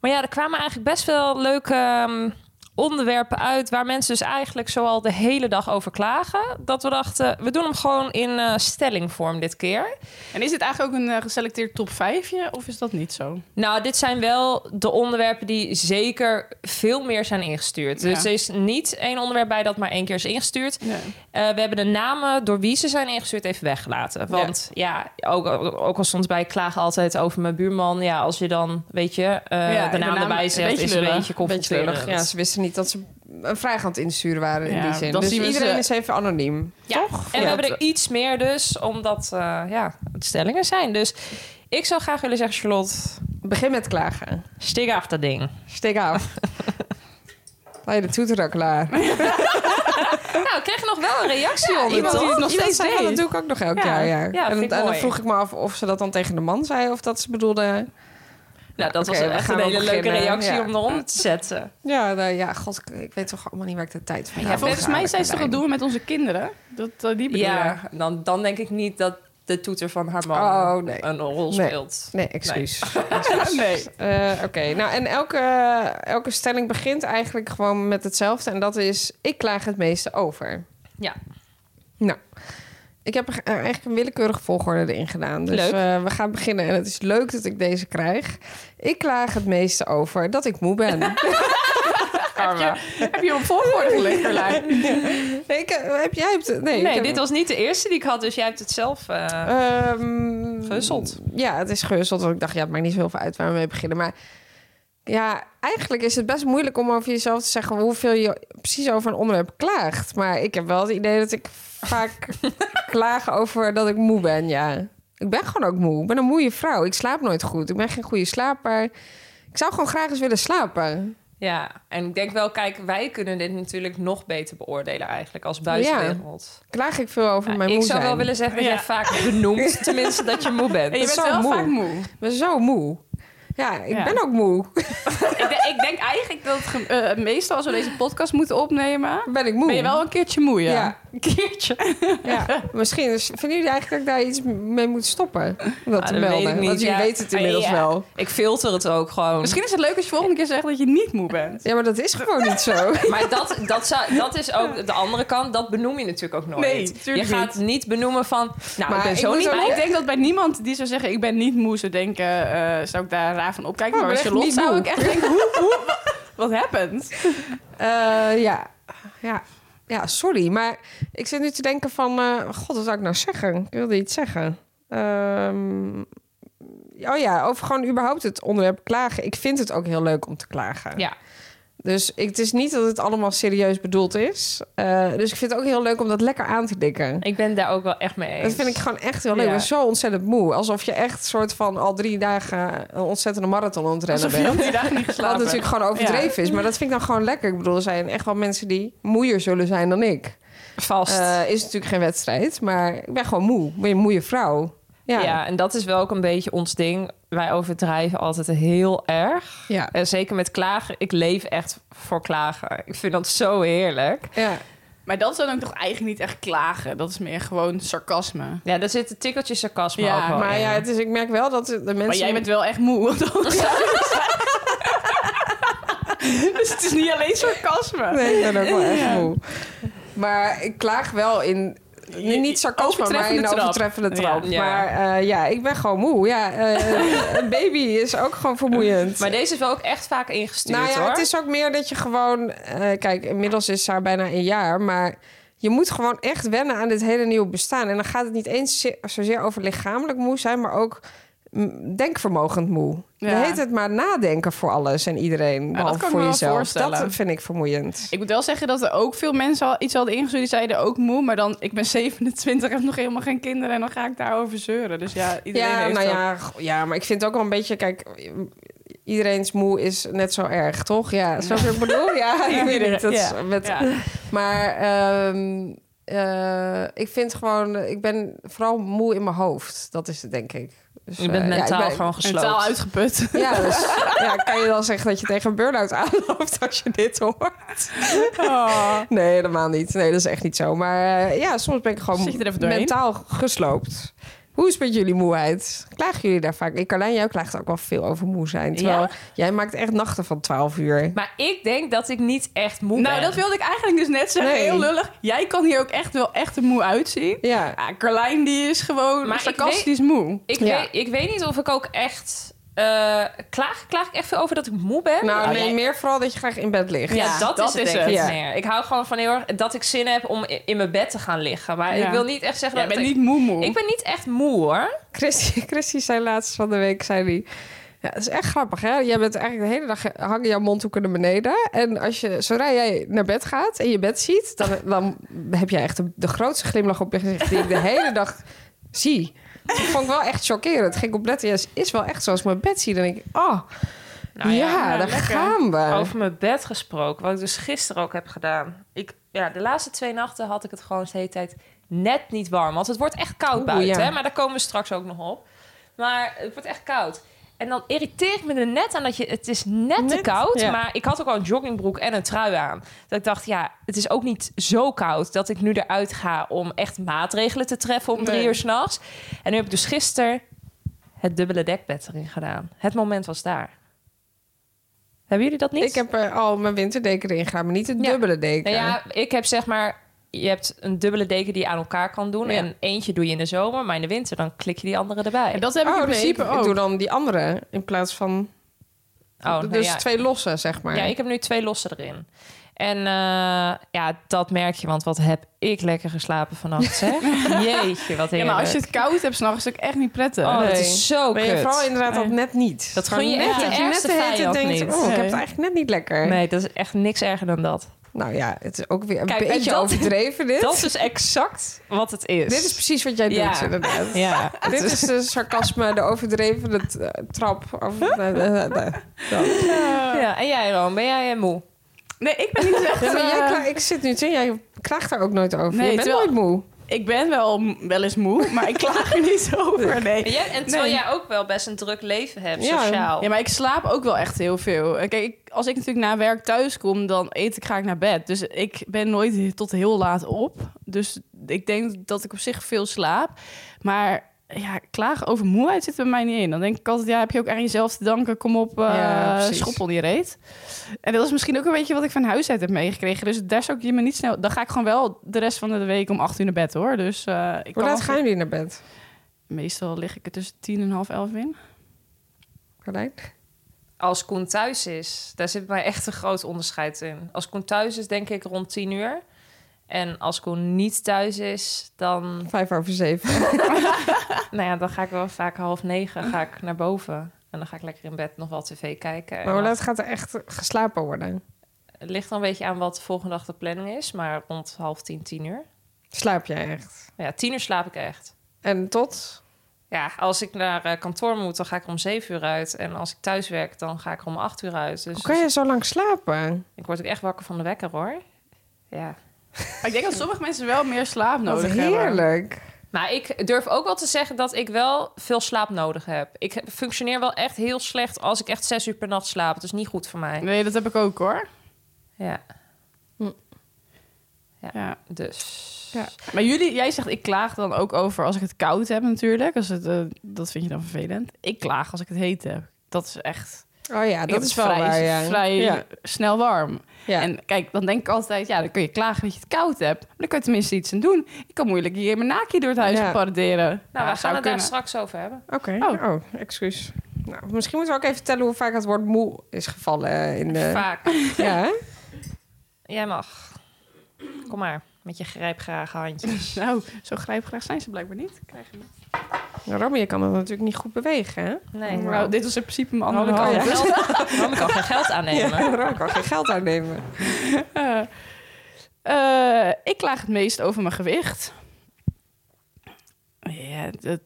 [SPEAKER 5] Maar ja, er kwamen eigenlijk best wel leuke ehm, onderwerpen uit... waar mensen dus eigenlijk zoal de hele dag over klagen. Dat we dachten, we doen hem gewoon in eh, stellingvorm dit keer.
[SPEAKER 6] En is dit eigenlijk ook een eh, geselecteerd top 5 of is dat niet zo?
[SPEAKER 5] Nou, dit zijn wel de onderwerpen die zeker veel meer zijn ingestuurd.
[SPEAKER 6] Ja.
[SPEAKER 5] Dus er is niet één onderwerp bij dat maar één keer is ingestuurd.
[SPEAKER 6] Nee.
[SPEAKER 5] Eh, we hebben de namen door wie ze zijn ingestuurd even weggelaten. Want ja, ook, ook al stond bij ik klaag altijd over mijn buurman. Ja, als je dan, weet je, eh,
[SPEAKER 6] Ja,
[SPEAKER 5] de naam erbij zegt,
[SPEAKER 6] beetje
[SPEAKER 5] is een
[SPEAKER 6] lullig.
[SPEAKER 5] beetje
[SPEAKER 7] Beetje
[SPEAKER 5] confronterend.
[SPEAKER 7] lullig. Ja, ze wisten niet dat ze een vraag aan het insturen waren in
[SPEAKER 6] Ja,
[SPEAKER 7] die zin.
[SPEAKER 6] dan
[SPEAKER 7] Dus
[SPEAKER 6] zien we
[SPEAKER 7] iedereen
[SPEAKER 6] ze-
[SPEAKER 7] is even anoniem.
[SPEAKER 5] Ja, En we
[SPEAKER 7] Ja.
[SPEAKER 5] hebben er iets meer dus, omdat eh, ja, het stellingen zijn. Dus ik zou graag willen zeggen, Charlotte,
[SPEAKER 7] Begin met klagen.
[SPEAKER 5] stik af dat ding.
[SPEAKER 7] Steek af. Laat je de toeter al klaar.
[SPEAKER 5] Nou, ik kreeg nog wel een reactie onder,
[SPEAKER 7] iemand
[SPEAKER 5] toch?
[SPEAKER 7] die het nog
[SPEAKER 6] Iemand
[SPEAKER 7] steeds
[SPEAKER 6] zei,
[SPEAKER 7] deed.
[SPEAKER 6] "Ja,
[SPEAKER 7] Dat
[SPEAKER 6] dat
[SPEAKER 7] doe ik ook nog elk
[SPEAKER 5] Ja,
[SPEAKER 7] jaar.
[SPEAKER 5] jaar,
[SPEAKER 7] Ja.
[SPEAKER 5] ja." ja,
[SPEAKER 7] en
[SPEAKER 5] vind ik
[SPEAKER 7] en dan
[SPEAKER 5] mooi.
[SPEAKER 7] vroeg ik me af of ze dat dan tegen de man zei of dat ze bedoelde.
[SPEAKER 5] Nou, dat
[SPEAKER 7] Oké, we
[SPEAKER 5] was echt
[SPEAKER 7] gaan
[SPEAKER 5] een hele
[SPEAKER 7] wel
[SPEAKER 5] leuke
[SPEAKER 7] beginnen,
[SPEAKER 5] reactie
[SPEAKER 7] ja.
[SPEAKER 5] om eronder te zetten.
[SPEAKER 7] Ja, nou, ja, god, ik, ik weet toch allemaal niet waar ik de tijd van
[SPEAKER 6] Ja, volgens mij zijn ze toch dat doen we met onze kinderen? Dat, eh, die bedoel je?
[SPEAKER 5] Ja, dan, dan denk ik niet dat de toeter van haar man
[SPEAKER 7] Oh, nee.
[SPEAKER 5] een rol
[SPEAKER 7] Nee.
[SPEAKER 5] speelt.
[SPEAKER 7] Nee, excuus.
[SPEAKER 6] nee.
[SPEAKER 7] Eh, Oké, nou en elke, elke stelling begint eigenlijk gewoon met hetzelfde. En dat is, ik klaag het meeste over.
[SPEAKER 5] Ja.
[SPEAKER 7] Nou, ik heb er eh, eigenlijk een willekeurige volgorde erin gedaan. Dus
[SPEAKER 5] Leuk.
[SPEAKER 7] eh, we gaan beginnen. En het is leuk dat ik deze krijg. Ik klaag het meeste over dat ik moe ben.
[SPEAKER 6] Karma. Heb je hem op volgorde gelegd, Carlijn?
[SPEAKER 7] Nee, ik, heb jij hebt, nee, ik
[SPEAKER 5] Nee,
[SPEAKER 7] heb-
[SPEAKER 5] dit was niet de eerste die ik had, dus jij hebt het zelf. eh,
[SPEAKER 7] Ehm,
[SPEAKER 5] Gehusteld.
[SPEAKER 7] Ja, het is gehusteld. Want ik dacht, ja, het maakt niet zoveel uit waar we mee beginnen. Maar ja, eigenlijk is het best moeilijk om over jezelf te zeggen hoeveel je precies over een onderwerp klaagt. Maar ik heb wel het idee dat ik vaak klaag over dat ik moe ben. Ja, ik ben gewoon ook moe. Ik ben een moeie vrouw. Ik slaap nooit goed. Ik ben geen goede slaper. Ik zou gewoon graag eens willen slapen.
[SPEAKER 5] Ja, en ik denk wel, kijk, wij kunnen dit natuurlijk nog beter beoordelen eigenlijk als buitenwereld.
[SPEAKER 7] Klaag ik veel over
[SPEAKER 5] Ja,
[SPEAKER 7] mijn
[SPEAKER 5] ik
[SPEAKER 7] moe
[SPEAKER 5] zou wel
[SPEAKER 7] zijn.
[SPEAKER 5] willen zeggen dat
[SPEAKER 6] Ja.
[SPEAKER 5] jij vaak benoemt, tenminste dat je moe bent.
[SPEAKER 6] En je
[SPEAKER 7] Dat is
[SPEAKER 6] bent
[SPEAKER 7] zo
[SPEAKER 6] wel
[SPEAKER 7] moe.
[SPEAKER 6] vaak moe.
[SPEAKER 7] Ik ben zo moe. Ja, ik
[SPEAKER 6] Ja.
[SPEAKER 7] ben ook moe.
[SPEAKER 6] ik, denk, ik denk eigenlijk dat ge- eh, meestal als we deze podcast moeten opnemen...
[SPEAKER 7] Ben ik moe?
[SPEAKER 6] ben je wel een keertje moe, ja.
[SPEAKER 7] Ja.
[SPEAKER 6] Een keertje.
[SPEAKER 7] Ja, misschien. is- Vinden jullie eigenlijk dat ik daar iets mee moet stoppen? Om dat
[SPEAKER 5] Ah,
[SPEAKER 7] te
[SPEAKER 5] dat
[SPEAKER 7] melden.
[SPEAKER 5] weet ik niet,
[SPEAKER 7] Want jullie
[SPEAKER 5] ja.
[SPEAKER 7] weten het inmiddels
[SPEAKER 5] Ja.
[SPEAKER 7] wel.
[SPEAKER 5] Ik filter het ook gewoon.
[SPEAKER 6] Misschien is het leuk als je volgende keer zegt dat je niet moe bent.
[SPEAKER 7] Ja, maar dat is gewoon niet zo.
[SPEAKER 5] Maar dat, dat, zou, dat is ook de andere kant. Dat benoem je natuurlijk ook nooit.
[SPEAKER 6] Nee,
[SPEAKER 5] je
[SPEAKER 6] tuurlijk
[SPEAKER 5] gaat niet. benoemen van... Nou,
[SPEAKER 7] Maar
[SPEAKER 5] ik ben
[SPEAKER 7] ik
[SPEAKER 5] zo
[SPEAKER 7] moet
[SPEAKER 5] niet...
[SPEAKER 7] ook-
[SPEAKER 5] blij.
[SPEAKER 6] Maar ik denk dat bij niemand die zou zeggen ik ben niet moe zou denken... eh, zou ik daar raar van opkijken.
[SPEAKER 7] Oh,
[SPEAKER 6] maar bij
[SPEAKER 7] ik ben echt
[SPEAKER 6] Charlotte
[SPEAKER 7] niet
[SPEAKER 6] zou ik
[SPEAKER 7] moe.
[SPEAKER 6] echt denken hoe... hoe wa- wat happened?
[SPEAKER 7] Eh, ja. ja. Ja, sorry. Maar ik zit nu te denken van... eh, God, wat zou ik nou zeggen? Ik wilde iets zeggen. Ehm, oh ja, over gewoon überhaupt het onderwerp klagen. Ik vind het ook heel leuk om te klagen.
[SPEAKER 5] Ja.
[SPEAKER 7] Dus ik, het is niet dat het allemaal serieus bedoeld is. Eh, dus ik vind het ook heel leuk om dat lekker aan te dikken.
[SPEAKER 5] Ik ben daar ook wel echt mee eens.
[SPEAKER 7] Dat vind ik gewoon echt heel leuk.
[SPEAKER 6] Ja.
[SPEAKER 7] Ik ben zo ontzettend moe. Alsof je echt soort van al drie dagen een ontzettende marathon aan het rennen
[SPEAKER 6] Alsof je al
[SPEAKER 7] bent.
[SPEAKER 6] die dagen niet
[SPEAKER 7] Wat
[SPEAKER 6] geslapen
[SPEAKER 7] natuurlijk gewoon overdreven is. Maar dat vind ik dan gewoon lekker. Ik bedoel, er zijn echt wel mensen die moeier zullen zijn dan ik.
[SPEAKER 5] vast.
[SPEAKER 7] Eh, is natuurlijk geen wedstrijd, maar ik ben gewoon moe. Ik ben een moeie vrouw. Ja.
[SPEAKER 5] ja. en dat is wel ook een beetje ons ding. Wij overdrijven altijd heel erg.
[SPEAKER 7] Ja.
[SPEAKER 5] En zeker met klagen. Ik leef echt voor klagen. Ik vind dat zo heerlijk.
[SPEAKER 7] ja.
[SPEAKER 6] Maar dat is dan ook toch eigenlijk niet echt klagen. Dat is meer gewoon sarcasme.
[SPEAKER 5] Ja, daar zit een tikkeltje sarcasme
[SPEAKER 6] Ja,
[SPEAKER 5] ook wel
[SPEAKER 7] Maar
[SPEAKER 5] in.
[SPEAKER 7] ja, het is, ik merk wel dat de mensen...
[SPEAKER 6] Maar jij bent wel echt moe. dus het is niet alleen sarcasme.
[SPEAKER 7] Nee, ik ben ook wel echt moe. Maar ik klaag wel in... Nee, niet sarcasme, maar in
[SPEAKER 6] Overtreffende trap.
[SPEAKER 7] overtreffende trap.
[SPEAKER 5] Ja, ja.
[SPEAKER 7] Maar eh, ja, ik ben gewoon moe. Ja, eh, een baby is ook gewoon vermoeiend.
[SPEAKER 5] Maar deze is wel ook echt vaak ingestuurd,
[SPEAKER 7] nou ja,
[SPEAKER 5] hoor.
[SPEAKER 7] het is ook meer dat je gewoon... eh, kijk, inmiddels is ze haar bijna een jaar, maar... Je moet gewoon echt wennen aan dit hele nieuwe bestaan. En dan gaat het niet eens ze- zozeer over lichamelijk moe zijn, maar ook mm, denkvermogend moe.
[SPEAKER 6] Ja.
[SPEAKER 7] Je heet het maar nadenken voor alles en iedereen, behalve
[SPEAKER 6] kan
[SPEAKER 7] voor
[SPEAKER 6] ik me wel
[SPEAKER 7] jezelf. Dat
[SPEAKER 6] voorstellen.
[SPEAKER 7] vind ik vermoeiend.
[SPEAKER 6] Ik moet wel zeggen dat er ook veel mensen al iets hadden ingestuurd. Die zeiden ook moe, maar dan ik ben 27 en heb nog helemaal geen kinderen. En dan ga ik daarover zeuren. Dus ja, iedereen
[SPEAKER 7] ja,
[SPEAKER 6] heeft
[SPEAKER 7] nou
[SPEAKER 6] dat.
[SPEAKER 7] ja, go- ja, maar ik vind het ook wel een beetje, kijk, iedereen's moe is net zo erg, toch? Ja, zoals ik bedoel. Ja, ik weet niet. Dat is
[SPEAKER 6] Ja.
[SPEAKER 7] met,
[SPEAKER 6] Ja.
[SPEAKER 7] Maar ehm, eh, ik vind gewoon, ik ben vooral moe in mijn hoofd. Dat is het, denk ik. Dus,
[SPEAKER 5] Je bent
[SPEAKER 7] eh, ja, ik
[SPEAKER 5] mentaal
[SPEAKER 7] ben-
[SPEAKER 5] gewoon gesloopt.
[SPEAKER 6] Mentaal uitgeput.
[SPEAKER 7] Ja, dus, ja, kan je dan zeggen dat je tegen een burn-out aanloopt als je dit hoort? Nee, helemaal niet. Nee, dat is echt niet zo. Maar eh, ja, soms ben ik gewoon
[SPEAKER 6] Zit je er even doorheen?
[SPEAKER 7] mentaal gesloopt. Hoe is het met jullie moeheid? Klagen jullie daar vaak? Ik, Carlijn, jij klaagt ook wel veel over moe zijn. Terwijl
[SPEAKER 5] Ja?
[SPEAKER 7] jij maakt echt nachten van 12 uur.
[SPEAKER 5] Maar ik denk dat ik niet echt moe ben.
[SPEAKER 6] Nou, dat wilde ik eigenlijk dus net zeggen.
[SPEAKER 7] Nee.
[SPEAKER 6] Heel lullig. Jij kan hier ook echt wel echt er moe uitzien.
[SPEAKER 7] Ja.
[SPEAKER 6] Ja, Carlijn die is gewoon
[SPEAKER 5] Maar ik
[SPEAKER 6] sarcastisch moe.
[SPEAKER 5] Ik,
[SPEAKER 7] Ja.
[SPEAKER 5] weet, ik weet niet of ik ook echt... eh, klaag, klaag ik echt veel over dat ik moe ben?
[SPEAKER 7] Nou,
[SPEAKER 5] Oh,
[SPEAKER 7] nee,
[SPEAKER 5] jij-
[SPEAKER 7] meer vooral dat je graag in bed ligt.
[SPEAKER 5] Ja,
[SPEAKER 6] Ja,
[SPEAKER 5] dat,
[SPEAKER 6] dat
[SPEAKER 5] is het
[SPEAKER 6] is
[SPEAKER 5] denk ik
[SPEAKER 7] het.
[SPEAKER 5] meer. Ik hou gewoon van heel erg dat ik zin heb om in, in mijn bed te gaan liggen. Maar
[SPEAKER 6] Ja.
[SPEAKER 5] ik wil niet echt zeggen
[SPEAKER 6] Jij
[SPEAKER 5] dat
[SPEAKER 6] bent
[SPEAKER 5] ik...
[SPEAKER 6] niet moe moe.
[SPEAKER 5] Ik ben niet echt moe hoor.
[SPEAKER 7] Christy, Christy zei laatst van de week, zei die... Ja, dat is echt grappig, hè? Jij bent eigenlijk de hele dag eh, hangen jouw mondhoeken naar beneden. En als je, zodra jij naar bed gaat en je bed ziet... dan, dan heb jij echt de, de grootste glimlach op je gezicht... die ik de hele dag zie. Dat vond ik wel echt chockerend. Ging ik op letten. Ja, het is wel echt zoals ik mijn bed zie. Dan denk ik, oh,
[SPEAKER 5] Nou
[SPEAKER 7] ja,
[SPEAKER 5] ja,
[SPEAKER 6] nou,
[SPEAKER 7] daar
[SPEAKER 6] lekker.
[SPEAKER 7] gaan we.
[SPEAKER 5] Over mijn bed gesproken, wat ik dus gisteren ook heb gedaan. Ik, ja, de laatste twee nachten had ik het gewoon de hele tijd net niet warm. Want het wordt echt koud
[SPEAKER 7] Oeh,
[SPEAKER 5] buiten,
[SPEAKER 7] ja.
[SPEAKER 5] hè? maar daar komen we straks ook nog op. Maar het wordt echt koud. En dan irriteer ik me er net aan dat je... Het is net, te koud,
[SPEAKER 7] ja.
[SPEAKER 5] maar ik had ook al een joggingbroek en een trui aan. Dat ik dacht, ja, het is ook niet zo koud... dat ik nu eruit ga om echt maatregelen te treffen om drie
[SPEAKER 6] Nee.
[SPEAKER 5] uur s'nachts. En nu heb ik dus gisteren het dubbele dekbed erin gedaan. Het moment was daar. Hebben jullie dat niet?
[SPEAKER 7] Ik heb er al mijn winterdeken erin gedaan, maar niet het
[SPEAKER 5] Ja.
[SPEAKER 7] dubbele deken.
[SPEAKER 5] Nou ja, ik heb zeg maar... Je hebt een dubbele deken die je aan elkaar kan doen.
[SPEAKER 7] Ja.
[SPEAKER 5] En eentje doe je in de zomer, maar in de winter dan klik je die andere erbij.
[SPEAKER 6] En dat heb ik
[SPEAKER 7] Oh,
[SPEAKER 6] in
[SPEAKER 7] nee,
[SPEAKER 6] principe
[SPEAKER 7] ik,
[SPEAKER 6] ook.
[SPEAKER 7] ik doe dan die andere in plaats van...
[SPEAKER 5] oh, nou
[SPEAKER 7] dus
[SPEAKER 5] ja.
[SPEAKER 7] twee losse, zeg maar.
[SPEAKER 5] Ja, ik heb nu twee lossen erin. En eh, ja, dat merk je, want wat heb ik lekker geslapen vannacht, zeg. Jeetje, wat heerlijk.
[SPEAKER 6] Ja, maar als je het koud hebt s'nachts, is het ook echt niet prettig.
[SPEAKER 5] Oh, dat
[SPEAKER 7] Nee.
[SPEAKER 5] is zo
[SPEAKER 7] Maar je
[SPEAKER 5] kut.
[SPEAKER 7] vooral inderdaad dat
[SPEAKER 6] Nee.
[SPEAKER 7] net niet.
[SPEAKER 5] Dat gun je
[SPEAKER 7] Gewoon
[SPEAKER 5] echt
[SPEAKER 7] net
[SPEAKER 5] je
[SPEAKER 7] dat je net
[SPEAKER 5] ergste
[SPEAKER 7] de hele tijd
[SPEAKER 5] vijand
[SPEAKER 7] denkt,
[SPEAKER 5] niet.
[SPEAKER 7] oh, ik heb
[SPEAKER 6] Nee.
[SPEAKER 7] het eigenlijk net niet lekker.
[SPEAKER 5] Nee, dat is echt niks erger dan dat.
[SPEAKER 7] Nou ja, het is ook weer een
[SPEAKER 5] Kijk, en
[SPEAKER 7] beetje
[SPEAKER 5] dat-
[SPEAKER 7] overdreven dit.
[SPEAKER 5] Dat is exact wat het is.
[SPEAKER 7] Dit is precies wat jij doet,
[SPEAKER 5] Ja.
[SPEAKER 7] inderdaad.
[SPEAKER 5] ja,
[SPEAKER 7] Dit is de sarcasme, de overdreven eh, trap. Of, eh, eh, eh, eh, dat.
[SPEAKER 5] ja. En jij, Room, ben jij eh, moe?
[SPEAKER 6] Nee, ik ben niet echt...
[SPEAKER 7] Ja, maar
[SPEAKER 6] eh,
[SPEAKER 7] jij kla- ik zit nu te jij klaagt daar ook nooit over.
[SPEAKER 6] Nee,
[SPEAKER 7] je bent
[SPEAKER 6] terwijl-
[SPEAKER 7] nooit moe.
[SPEAKER 6] Ik ben wel, m- wel eens moe, maar ik klaag er niet over. Nee.
[SPEAKER 5] En, jij, en terwijl
[SPEAKER 6] Nee.
[SPEAKER 5] jij ook wel best een druk leven hebt,
[SPEAKER 7] Ja.
[SPEAKER 5] sociaal.
[SPEAKER 6] Ja, maar ik slaap ook wel echt heel veel. Eh, Kijk, ik- als ik natuurlijk na werk thuis kom, dan eet ik, ga ik naar bed. Dus ik ben nooit he- tot heel laat op. Dus ik denk dat ik op zich veel slaap. Maar ja, klagen over moeheid zit bij mij niet in. Dan denk ik altijd, ja, heb je ook aan jezelf te danken. Kom op, eh
[SPEAKER 7] Ja, precies.
[SPEAKER 6] schoppel die reet. En dat is misschien ook een beetje wat ik van huis uit heb meegekregen. Dus daar zou ik je me niet snel... Dan ga ik gewoon wel de rest van de week om acht uur naar bed, hoor. Dus eh,
[SPEAKER 7] Hoe
[SPEAKER 6] ik kan
[SPEAKER 7] laat
[SPEAKER 6] af-
[SPEAKER 7] gaan jullie naar bed,
[SPEAKER 6] Meestal lig ik er tussen tien en half elf in.
[SPEAKER 7] Carlijn?
[SPEAKER 5] Als Koen thuis is, daar zit bij mij echt een groot onderscheid in. Als Koen thuis is, denk ik rond 10 uur. En als Koen niet thuis is, dan,
[SPEAKER 7] Vijf over zeven.
[SPEAKER 5] nou ja, dan ga ik wel vaak half negen ga ik naar boven. En dan ga ik lekker in bed nog wel tv kijken. En
[SPEAKER 7] Maar hoe
[SPEAKER 5] dan-
[SPEAKER 7] laat gaat er echt geslapen worden?
[SPEAKER 5] Het ligt dan een beetje aan wat de volgende dag de planning is. Maar rond half tien, tien uur.
[SPEAKER 7] Slaap jij echt?
[SPEAKER 5] Ja, tien uur slaap ik echt.
[SPEAKER 7] En tot?
[SPEAKER 5] Ja, als ik naar eh, kantoor moet, dan ga ik er om zeven uur uit. En als ik thuis werk, dan ga ik er om acht uur uit. Dus
[SPEAKER 7] Hoe kan je zo lang slapen?
[SPEAKER 5] ik word ook echt wakker van de wekker, hoor. Ja.
[SPEAKER 6] Maar ik denk dat sommige mensen wel meer slaap
[SPEAKER 7] Wat
[SPEAKER 6] nodig hebben.
[SPEAKER 7] heerlijk.
[SPEAKER 5] Maar ik durf ook wel te zeggen dat ik wel veel slaap nodig heb. Ik heb- functioneer wel echt heel slecht als ik echt zes uur per nacht slaap. Dat is niet goed voor mij.
[SPEAKER 6] Nee, dat heb ik ook hoor.
[SPEAKER 5] Ja,
[SPEAKER 6] Ja.
[SPEAKER 5] dus...
[SPEAKER 7] Ja.
[SPEAKER 6] Maar jullie, jij zegt ik klaag dan ook over als ik het koud heb natuurlijk. Als het, eh, dat vind je dan vervelend. Ik klaag als ik het heet heb. Dat is echt.
[SPEAKER 7] Oh ja,
[SPEAKER 6] ik
[SPEAKER 7] dat
[SPEAKER 6] heb
[SPEAKER 7] is
[SPEAKER 6] het
[SPEAKER 7] wel
[SPEAKER 6] vrij,
[SPEAKER 7] waar, ja.
[SPEAKER 6] vrij
[SPEAKER 7] Ja.
[SPEAKER 6] snel warm.
[SPEAKER 7] Ja.
[SPEAKER 6] En kijk, dan denk ik altijd, ja, dan kun je klagen dat je het koud hebt. Maar dan kun je tenminste iets aan doen. Ik kan moeilijk hier mijn naakje door het huis
[SPEAKER 7] Ja.
[SPEAKER 6] paraderen.
[SPEAKER 5] Nou, we gaan het daar
[SPEAKER 6] kunnen.
[SPEAKER 5] straks over hebben.
[SPEAKER 7] Oké. Oh. excuus. Nou, misschien moeten we ook even vertellen hoe vaak het woord moe is gevallen eh, in de...
[SPEAKER 5] Vaak.
[SPEAKER 7] Ja, hè?
[SPEAKER 5] Jij mag. Kom maar, met je grijpgrage handjes.
[SPEAKER 6] Nou, zo grijpgraag zijn ze blijkbaar niet. Krijg je niet.
[SPEAKER 7] Nou, Romy, je kan dat natuurlijk niet goed bewegen, hè?
[SPEAKER 5] Nee. Oh,
[SPEAKER 6] Nou, dit was in principe mijn
[SPEAKER 7] Oh,
[SPEAKER 6] andere
[SPEAKER 5] kan
[SPEAKER 6] hand.
[SPEAKER 5] geen geld- Waarom ik al geen geld aannemen?
[SPEAKER 7] Ja, Romy kan geen geld aannemen.
[SPEAKER 6] Eh, eh, ik klaag het meest over mijn gewicht. Ja, dat,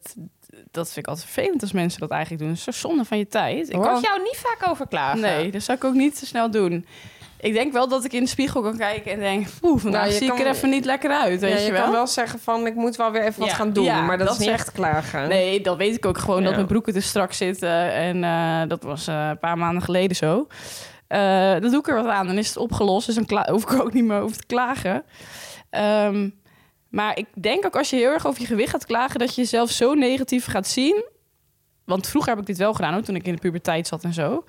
[SPEAKER 6] dat vind ik altijd vervelend als mensen dat eigenlijk doen. Het is zo zonde van je tijd. Ik
[SPEAKER 5] Ik kan jou niet vaak over klagen.
[SPEAKER 6] nee, dat zou ik ook niet zo snel doen. Ik denk wel dat ik in de spiegel kan kijken en denk... Poeh, vandaag
[SPEAKER 7] Nou, je
[SPEAKER 6] zie ik
[SPEAKER 7] kan-
[SPEAKER 6] er even niet lekker uit,
[SPEAKER 7] Ja,
[SPEAKER 6] weet
[SPEAKER 7] Dus je,
[SPEAKER 6] je
[SPEAKER 7] kan
[SPEAKER 6] wel?
[SPEAKER 7] wel zeggen van, ik moet wel weer even wat
[SPEAKER 5] Ja.
[SPEAKER 7] gaan doen.
[SPEAKER 6] Ja,
[SPEAKER 7] maar dat,
[SPEAKER 6] dat
[SPEAKER 7] is niet
[SPEAKER 6] is
[SPEAKER 7] echt klagen.
[SPEAKER 6] Nee, dat weet ik ook gewoon, dat
[SPEAKER 7] Ja.
[SPEAKER 6] mijn broeken te strak zitten. En eh, dat was eh, een paar maanden geleden zo. Eh dan doe ik er wat aan, dan is het opgelost. Dus dan kla- hoef ik ook niet meer over te klagen. Ehm, maar ik denk ook als je heel erg over je gewicht gaat klagen... dat je jezelf zo negatief gaat zien. Want vroeger heb ik dit wel gedaan, hoor, toen ik in de puberteit zat en zo.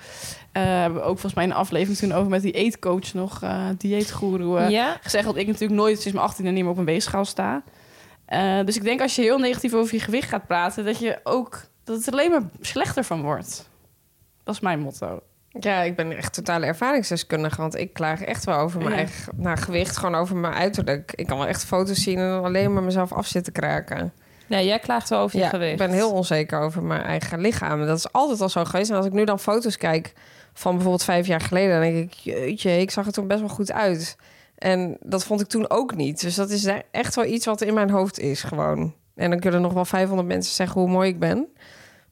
[SPEAKER 6] Eh, hebben we ook volgens mij in een aflevering toen over met die eetcoach nog... eh dieetgoeroe, eh,
[SPEAKER 5] Ja?
[SPEAKER 6] gezegd dat ik natuurlijk nooit sinds mijn 18e niet meer op een weegschaal sta. Eh, dus ik denk als je heel negatief over je gewicht gaat praten, dat je ook dat het er alleen maar slechter van wordt. Dat is mijn motto.
[SPEAKER 7] Ja, ik ben echt totale ervaringsdeskundige. Want ik klaag echt wel over mijn
[SPEAKER 6] Ja.
[SPEAKER 7] eigen nou, gewicht. Gewoon over mijn uiterlijk. Ik kan wel echt foto's zien en alleen maar mezelf af zitten kraken.
[SPEAKER 5] Nee, jij klaagt wel over je gewicht.
[SPEAKER 7] ik ben heel onzeker over mijn eigen lichaam. Dat is altijd al zo geweest. En als ik nu dan foto's kijk van bijvoorbeeld vijf jaar geleden... dan denk ik, jeetje, ik zag er toen best wel goed uit. En dat vond ik toen ook niet. Dus dat is e- echt wel iets wat in mijn hoofd is gewoon. En dan kunnen nog wel 500 mensen zeggen hoe mooi ik ben...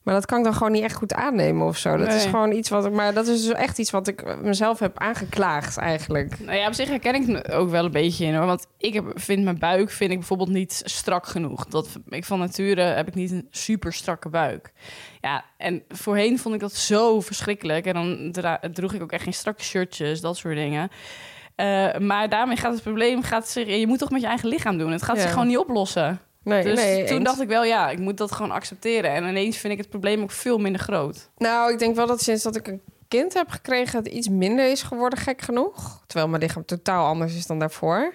[SPEAKER 7] Maar dat kan ik dan gewoon niet echt goed aannemen of zo. Dat is
[SPEAKER 6] Nee.
[SPEAKER 7] gewoon iets wat ik. Maar dat is dus echt iets wat ik mezelf heb aangeklaagd eigenlijk.
[SPEAKER 6] Nou ja, op zich herken ik me ook wel een beetje in hoor. Want ik heb, vind mijn buik vind ik bijvoorbeeld niet strak genoeg. Dat, ik van nature heb ik niet een super strakke buik. Ja, en voorheen vond ik dat zo verschrikkelijk. En dan dra- droeg ik ook echt geen strakke shirtjes, dat soort dingen. Eh, maar daarmee gaat het probleem, gaat zich, je moet toch met je eigen lichaam doen. Het gaat
[SPEAKER 7] Ja.
[SPEAKER 6] zich gewoon niet oplossen.
[SPEAKER 7] Nee,
[SPEAKER 6] Dus
[SPEAKER 7] nee,
[SPEAKER 6] toen
[SPEAKER 7] eens.
[SPEAKER 6] dacht ik wel, ja, ik moet dat gewoon accepteren. En ineens vind ik het probleem ook veel minder groot.
[SPEAKER 7] Nou, ik denk wel dat sinds dat ik een kind heb gekregen, het iets minder is geworden, gek genoeg. Terwijl mijn lichaam totaal anders is dan daarvoor.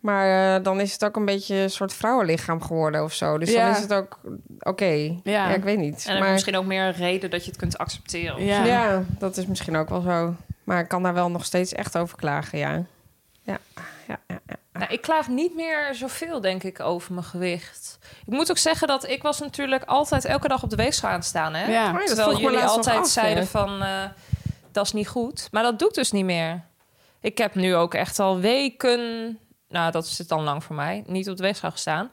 [SPEAKER 7] Maar eh, dan is het ook een beetje een soort vrouwenlichaam geworden of zo. Dus
[SPEAKER 6] Ja.
[SPEAKER 7] dan is het ook oké. Ja.
[SPEAKER 6] Ja.
[SPEAKER 7] ik weet niet.
[SPEAKER 5] En dan heb je
[SPEAKER 7] maar
[SPEAKER 5] misschien ook meer een reden dat je het kunt accepteren.
[SPEAKER 7] ja. dat is misschien ook wel zo. Maar ik kan daar wel nog steeds echt over klagen, ja. Ja, ja, ja. ja.
[SPEAKER 5] Nou, ik klaag niet meer zoveel, denk ik, over mijn gewicht. Ik moet ook zeggen dat ik was natuurlijk altijd elke dag op de weegschaal aan het staan. Hè?
[SPEAKER 6] Ja.
[SPEAKER 7] dat
[SPEAKER 6] Oh ja,
[SPEAKER 7] vroeg
[SPEAKER 5] Terwijl
[SPEAKER 7] me
[SPEAKER 5] jullie
[SPEAKER 7] laatst nog
[SPEAKER 5] altijd
[SPEAKER 7] af, ja.
[SPEAKER 5] zeiden van, eh, dat is niet goed. Maar dat doe ik dus niet meer. Ik heb nu ook echt al weken, nou dat is het dan lang voor mij, niet op de weegschaal gestaan.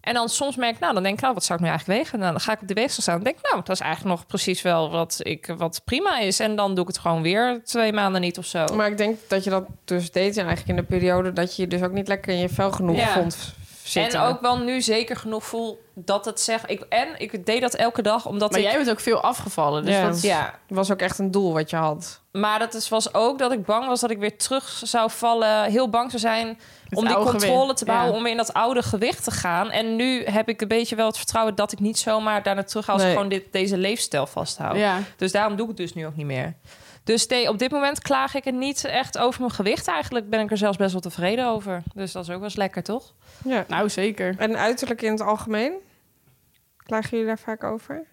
[SPEAKER 5] En dan soms merk ik, nou dan denk ik, nou wat zou ik nu eigenlijk wegen? Nou, dan ga ik op de weegschaal staan en denk ik, nou dat is eigenlijk nog precies wel wat, ik, wat prima is. En dan doe ik het gewoon weer twee maanden niet of zo.
[SPEAKER 7] Maar ik denk dat je dat dus deed eigenlijk in de periode dat je je dus ook niet lekker in je vel genoeg
[SPEAKER 5] Ja.
[SPEAKER 7] vond zitten.
[SPEAKER 5] En ook wel nu zeker genoeg voel dat het zegt. Ik, en ik deed dat elke dag omdat
[SPEAKER 6] Maar
[SPEAKER 5] ik.
[SPEAKER 6] jij bent ook veel afgevallen. Dus
[SPEAKER 7] Ja.
[SPEAKER 6] dat,
[SPEAKER 5] Ja,
[SPEAKER 7] was ook echt een doel wat je had.
[SPEAKER 5] maar dat is, was ook dat ik bang was dat ik weer terug zou vallen. Heel bang zou zijn om die
[SPEAKER 6] oude
[SPEAKER 5] controle
[SPEAKER 6] gewicht,
[SPEAKER 5] te behouden,
[SPEAKER 6] ja.
[SPEAKER 5] om weer in dat oude gewicht te gaan. En nu heb ik een beetje wel het vertrouwen dat ik niet zomaar daar naartoe ga als
[SPEAKER 7] Nee.
[SPEAKER 5] ik gewoon dit, deze leefstijl vasthoud.
[SPEAKER 6] ja.
[SPEAKER 5] Dus daarom doe ik het dus nu ook niet meer. Dus nee, op dit moment klaag ik er niet echt over mijn gewicht. Eigenlijk ben ik er zelfs best wel tevreden over. Dus dat is ook wel eens lekker, toch?
[SPEAKER 7] Ja.
[SPEAKER 6] nou zeker.
[SPEAKER 7] En uiterlijk in het algemeen? Klagen jullie daar vaak over?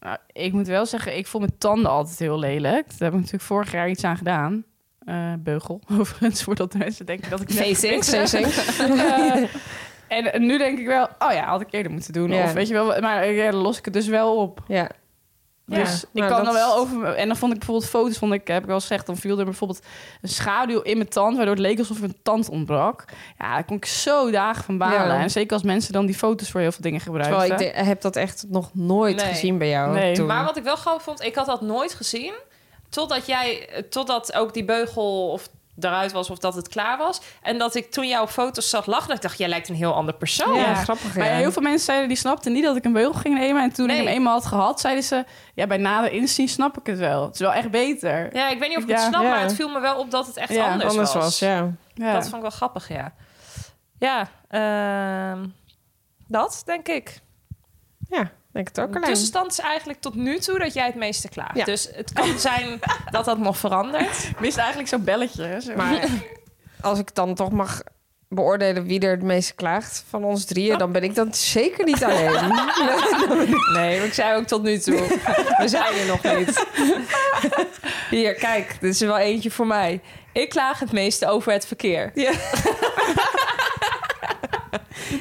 [SPEAKER 6] Nou, ik moet wel zeggen, ik vond mijn tanden altijd heel lelijk. Daar heb ik natuurlijk vorig jaar iets aan gedaan. Eh, beugel, overigens, voordat mensen denken dat ik net
[SPEAKER 5] Facing.
[SPEAKER 6] Eh, en nu denk ik wel, oh ja, had ik eerder moeten doen.
[SPEAKER 7] Ja.
[SPEAKER 6] Of weet je wel, maar ja, dan los ik het dus wel op.
[SPEAKER 7] Ja.
[SPEAKER 6] dus ik
[SPEAKER 7] nou,
[SPEAKER 6] kan
[SPEAKER 7] dat-
[SPEAKER 6] dan wel over. En dan vond ik bijvoorbeeld foto's, vond ik, heb ik wel gezegd, dan viel er bijvoorbeeld een schaduw in mijn tand, waardoor het leek alsof er een tand ontbrak. Ja, daar kon ik zo dagen van balen.
[SPEAKER 7] Ja.
[SPEAKER 6] En zeker als mensen dan die foto's voor heel veel dingen gebruiken.
[SPEAKER 7] Terwijl ik de- heb dat echt nog nooit
[SPEAKER 5] Nee.
[SPEAKER 7] gezien bij jou
[SPEAKER 6] Nee.
[SPEAKER 7] toen.
[SPEAKER 5] Maar wat ik wel grappig vond, ik had dat nooit gezien. Totdat jij, eh, totdat ook die beugel of eruit was of dat het klaar was. En dat ik toen jouw foto's zag lachen, dat ik dacht, jij lijkt een heel ander persoon.
[SPEAKER 7] ja,
[SPEAKER 6] Ja.
[SPEAKER 7] grappig.
[SPEAKER 6] Maar
[SPEAKER 7] ja.
[SPEAKER 6] heel veel mensen zeiden, die snapten niet dat ik een beugel ging nemen. En toen
[SPEAKER 5] Nee.
[SPEAKER 6] ik hem eenmaal had gehad, zeiden ze... Ja, bij nader inzien snap ik het wel. Het is wel echt beter.
[SPEAKER 5] Ja, ik weet niet of ik het
[SPEAKER 6] Ja,
[SPEAKER 5] snap,
[SPEAKER 7] ja.
[SPEAKER 5] maar het viel me wel op dat het echt
[SPEAKER 6] Ja,
[SPEAKER 5] anders,
[SPEAKER 7] anders was. ja.
[SPEAKER 6] Ja.
[SPEAKER 5] Dat vond ik wel grappig, ja. Ja, ehm, dat denk ik.
[SPEAKER 7] Ja, denk het ook
[SPEAKER 5] De
[SPEAKER 7] alleen.
[SPEAKER 5] tussenstand is eigenlijk tot nu toe dat jij het meeste klaagt.
[SPEAKER 7] Ja.
[SPEAKER 5] Dus het kan zijn dat dat nog verandert.
[SPEAKER 6] mist eigenlijk zo'n belletje. hè, Zo.
[SPEAKER 7] Maar als ik dan toch mag beoordelen wie er het meest klaagt van ons drieën, dan ben ik dat zeker niet alleen.
[SPEAKER 5] Nee, maar ik zei ook tot nu toe. We zijn er nog niet. Hier, kijk, dit is er wel eentje voor mij. Ik klaag het meeste over het verkeer.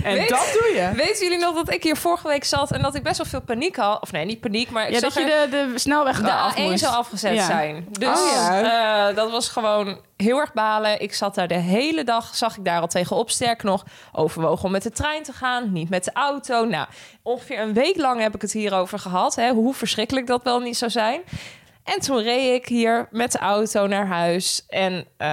[SPEAKER 6] en
[SPEAKER 5] weet-
[SPEAKER 6] dat doe je.
[SPEAKER 5] Weten jullie nog dat ik hier vorige week zat en dat ik best wel veel paniek had? Of nee, niet paniek, maar ik
[SPEAKER 6] Ja,
[SPEAKER 5] zag
[SPEAKER 6] dat je
[SPEAKER 5] er
[SPEAKER 6] de, de snelweg
[SPEAKER 5] de
[SPEAKER 6] eh, af
[SPEAKER 5] A1
[SPEAKER 6] moest.
[SPEAKER 5] zou afgezet
[SPEAKER 6] Ja.
[SPEAKER 5] zijn. Dus
[SPEAKER 7] Oh, ja.
[SPEAKER 5] eh, dat was gewoon heel erg balen. Ik zat daar de hele dag, zag ik daar al tegenop. Sterk nog, overwogen om met de trein te gaan, niet met de auto. Nou, ongeveer een week lang heb ik het hierover gehad. Hè, hoe verschrikkelijk dat wel niet zou zijn. En toen reed ik hier met de auto naar huis. En eh,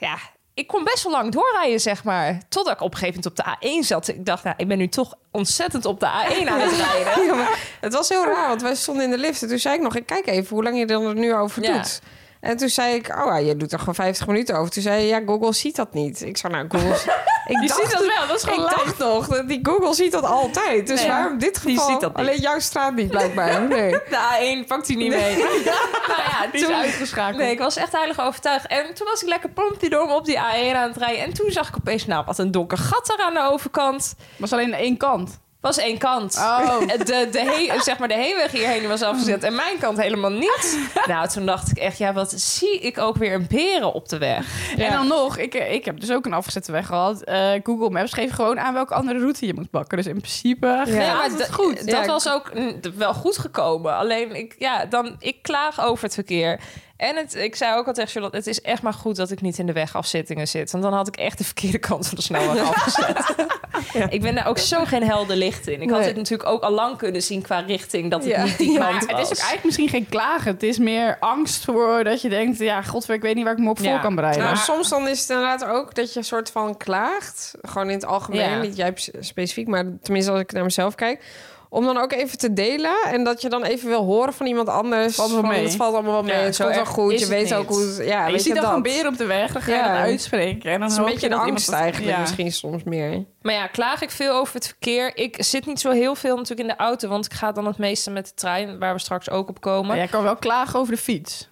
[SPEAKER 5] ja, ik kon best wel lang doorrijden, zeg maar. Totdat ik op een gegeven moment op de A1 zat. Ik dacht, nou, ik ben nu toch ontzettend op de A1 aan het rijden.
[SPEAKER 7] Ja, maar het was heel raar, want wij stonden in de lift en toen zei ik nog, ik kijk even hoe lang je er nu over
[SPEAKER 5] Ja.
[SPEAKER 7] doet. En toen zei ik, oh ja, je doet er gewoon 50 minuten over. Toen zei je, ja, Google ziet dat niet. Ik zei, nou, Google... ik
[SPEAKER 6] Je
[SPEAKER 7] dacht
[SPEAKER 6] ziet dat wel, dat is
[SPEAKER 7] Ik
[SPEAKER 6] gewoon live.
[SPEAKER 7] dacht nog, dat die Google ziet dat altijd. Dus
[SPEAKER 5] Nee.
[SPEAKER 7] waarom in dit
[SPEAKER 5] Die
[SPEAKER 7] geval
[SPEAKER 5] ziet dat niet.
[SPEAKER 7] alleen jouw straat niet, blijkbaar. Nee.
[SPEAKER 5] De A1 pakt hij niet mee. nou ja,
[SPEAKER 6] Die is uitgeschakeld.
[SPEAKER 5] Nee, ik was echt heilig overtuigd. En toen was ik lekker pompidom op die A1 aan het rijden. En toen zag ik opeens, nou, wat een donker gat daar aan de overkant.
[SPEAKER 6] was alleen één kant.
[SPEAKER 5] Was één kant.
[SPEAKER 6] Oh.
[SPEAKER 5] De, de, he- zeg maar de heenweg hierheen was afgezet en mijn kant helemaal niet. Nou, toen dacht ik echt, ja, wat zie ik ook weer een beren op de weg.
[SPEAKER 6] En dan nog, ik, eh, ik heb dus ook een afgezette weg gehad. Eh, Google Maps geeft gewoon aan welke andere route je moet pakken. Dus in principe...
[SPEAKER 5] Nee,
[SPEAKER 6] gaat
[SPEAKER 5] maar
[SPEAKER 6] het
[SPEAKER 5] dat-
[SPEAKER 6] goed.
[SPEAKER 5] Dat
[SPEAKER 7] Ja, ik-
[SPEAKER 5] was ook mm, d- wel goed gekomen. Alleen, ik, ja, dan, ik klaag over het verkeer. En het, ik zei ook al tegen Charlotte... het is echt maar goed dat ik niet in de wegafzittingen zit. Want dan had ik echt de verkeerde kant van de snelweg afgezet. Ik ben daar ook zo geen helder licht in. Ik had
[SPEAKER 7] Nee.
[SPEAKER 5] dit natuurlijk ook al lang kunnen zien qua richting... dat het
[SPEAKER 7] Ja.
[SPEAKER 5] niet die
[SPEAKER 6] Ja,
[SPEAKER 5] kant
[SPEAKER 6] het
[SPEAKER 5] was.
[SPEAKER 6] is ook eigenlijk misschien geen klagen. Het is meer angst voor dat je denkt... ja, godver, ik weet niet waar ik me op
[SPEAKER 5] Ja.
[SPEAKER 6] voor kan bereiden.
[SPEAKER 7] Nou, soms dan is het inderdaad ook dat je een soort van klaagt. Gewoon in het algemeen,
[SPEAKER 5] Ja.
[SPEAKER 7] niet jij spe- specifiek, maar tenminste als ik naar mezelf kijk. Om dan ook even te delen en dat je dan even wil horen van iemand anders.
[SPEAKER 6] Valt wel
[SPEAKER 7] van,
[SPEAKER 6] mee.
[SPEAKER 7] Het valt allemaal wel mee,
[SPEAKER 5] Ja,
[SPEAKER 7] het
[SPEAKER 5] zo
[SPEAKER 7] komt wel
[SPEAKER 5] erg
[SPEAKER 7] goed.
[SPEAKER 5] is
[SPEAKER 7] Je
[SPEAKER 5] het
[SPEAKER 7] weet
[SPEAKER 5] niet.
[SPEAKER 7] ook hoe... Ja,
[SPEAKER 6] Ja, je
[SPEAKER 7] weet je
[SPEAKER 6] ziet dan
[SPEAKER 7] dat?
[SPEAKER 6] gewoon beren op de weg, dan ga je
[SPEAKER 7] Ja.
[SPEAKER 6] dat uitspreken. En dan
[SPEAKER 7] Dat is
[SPEAKER 6] hoop
[SPEAKER 7] een
[SPEAKER 6] je
[SPEAKER 7] beetje de
[SPEAKER 6] dat iemand
[SPEAKER 7] angst
[SPEAKER 6] dat-
[SPEAKER 7] eigenlijk
[SPEAKER 6] ja.
[SPEAKER 7] misschien soms meer.
[SPEAKER 5] Maar ja, klaag ik veel over het verkeer. Ik zit niet zo heel veel natuurlijk in de auto... want ik ga dan het meeste met de trein... waar we straks ook op komen.
[SPEAKER 6] Maar jij kan wel klagen over de fiets.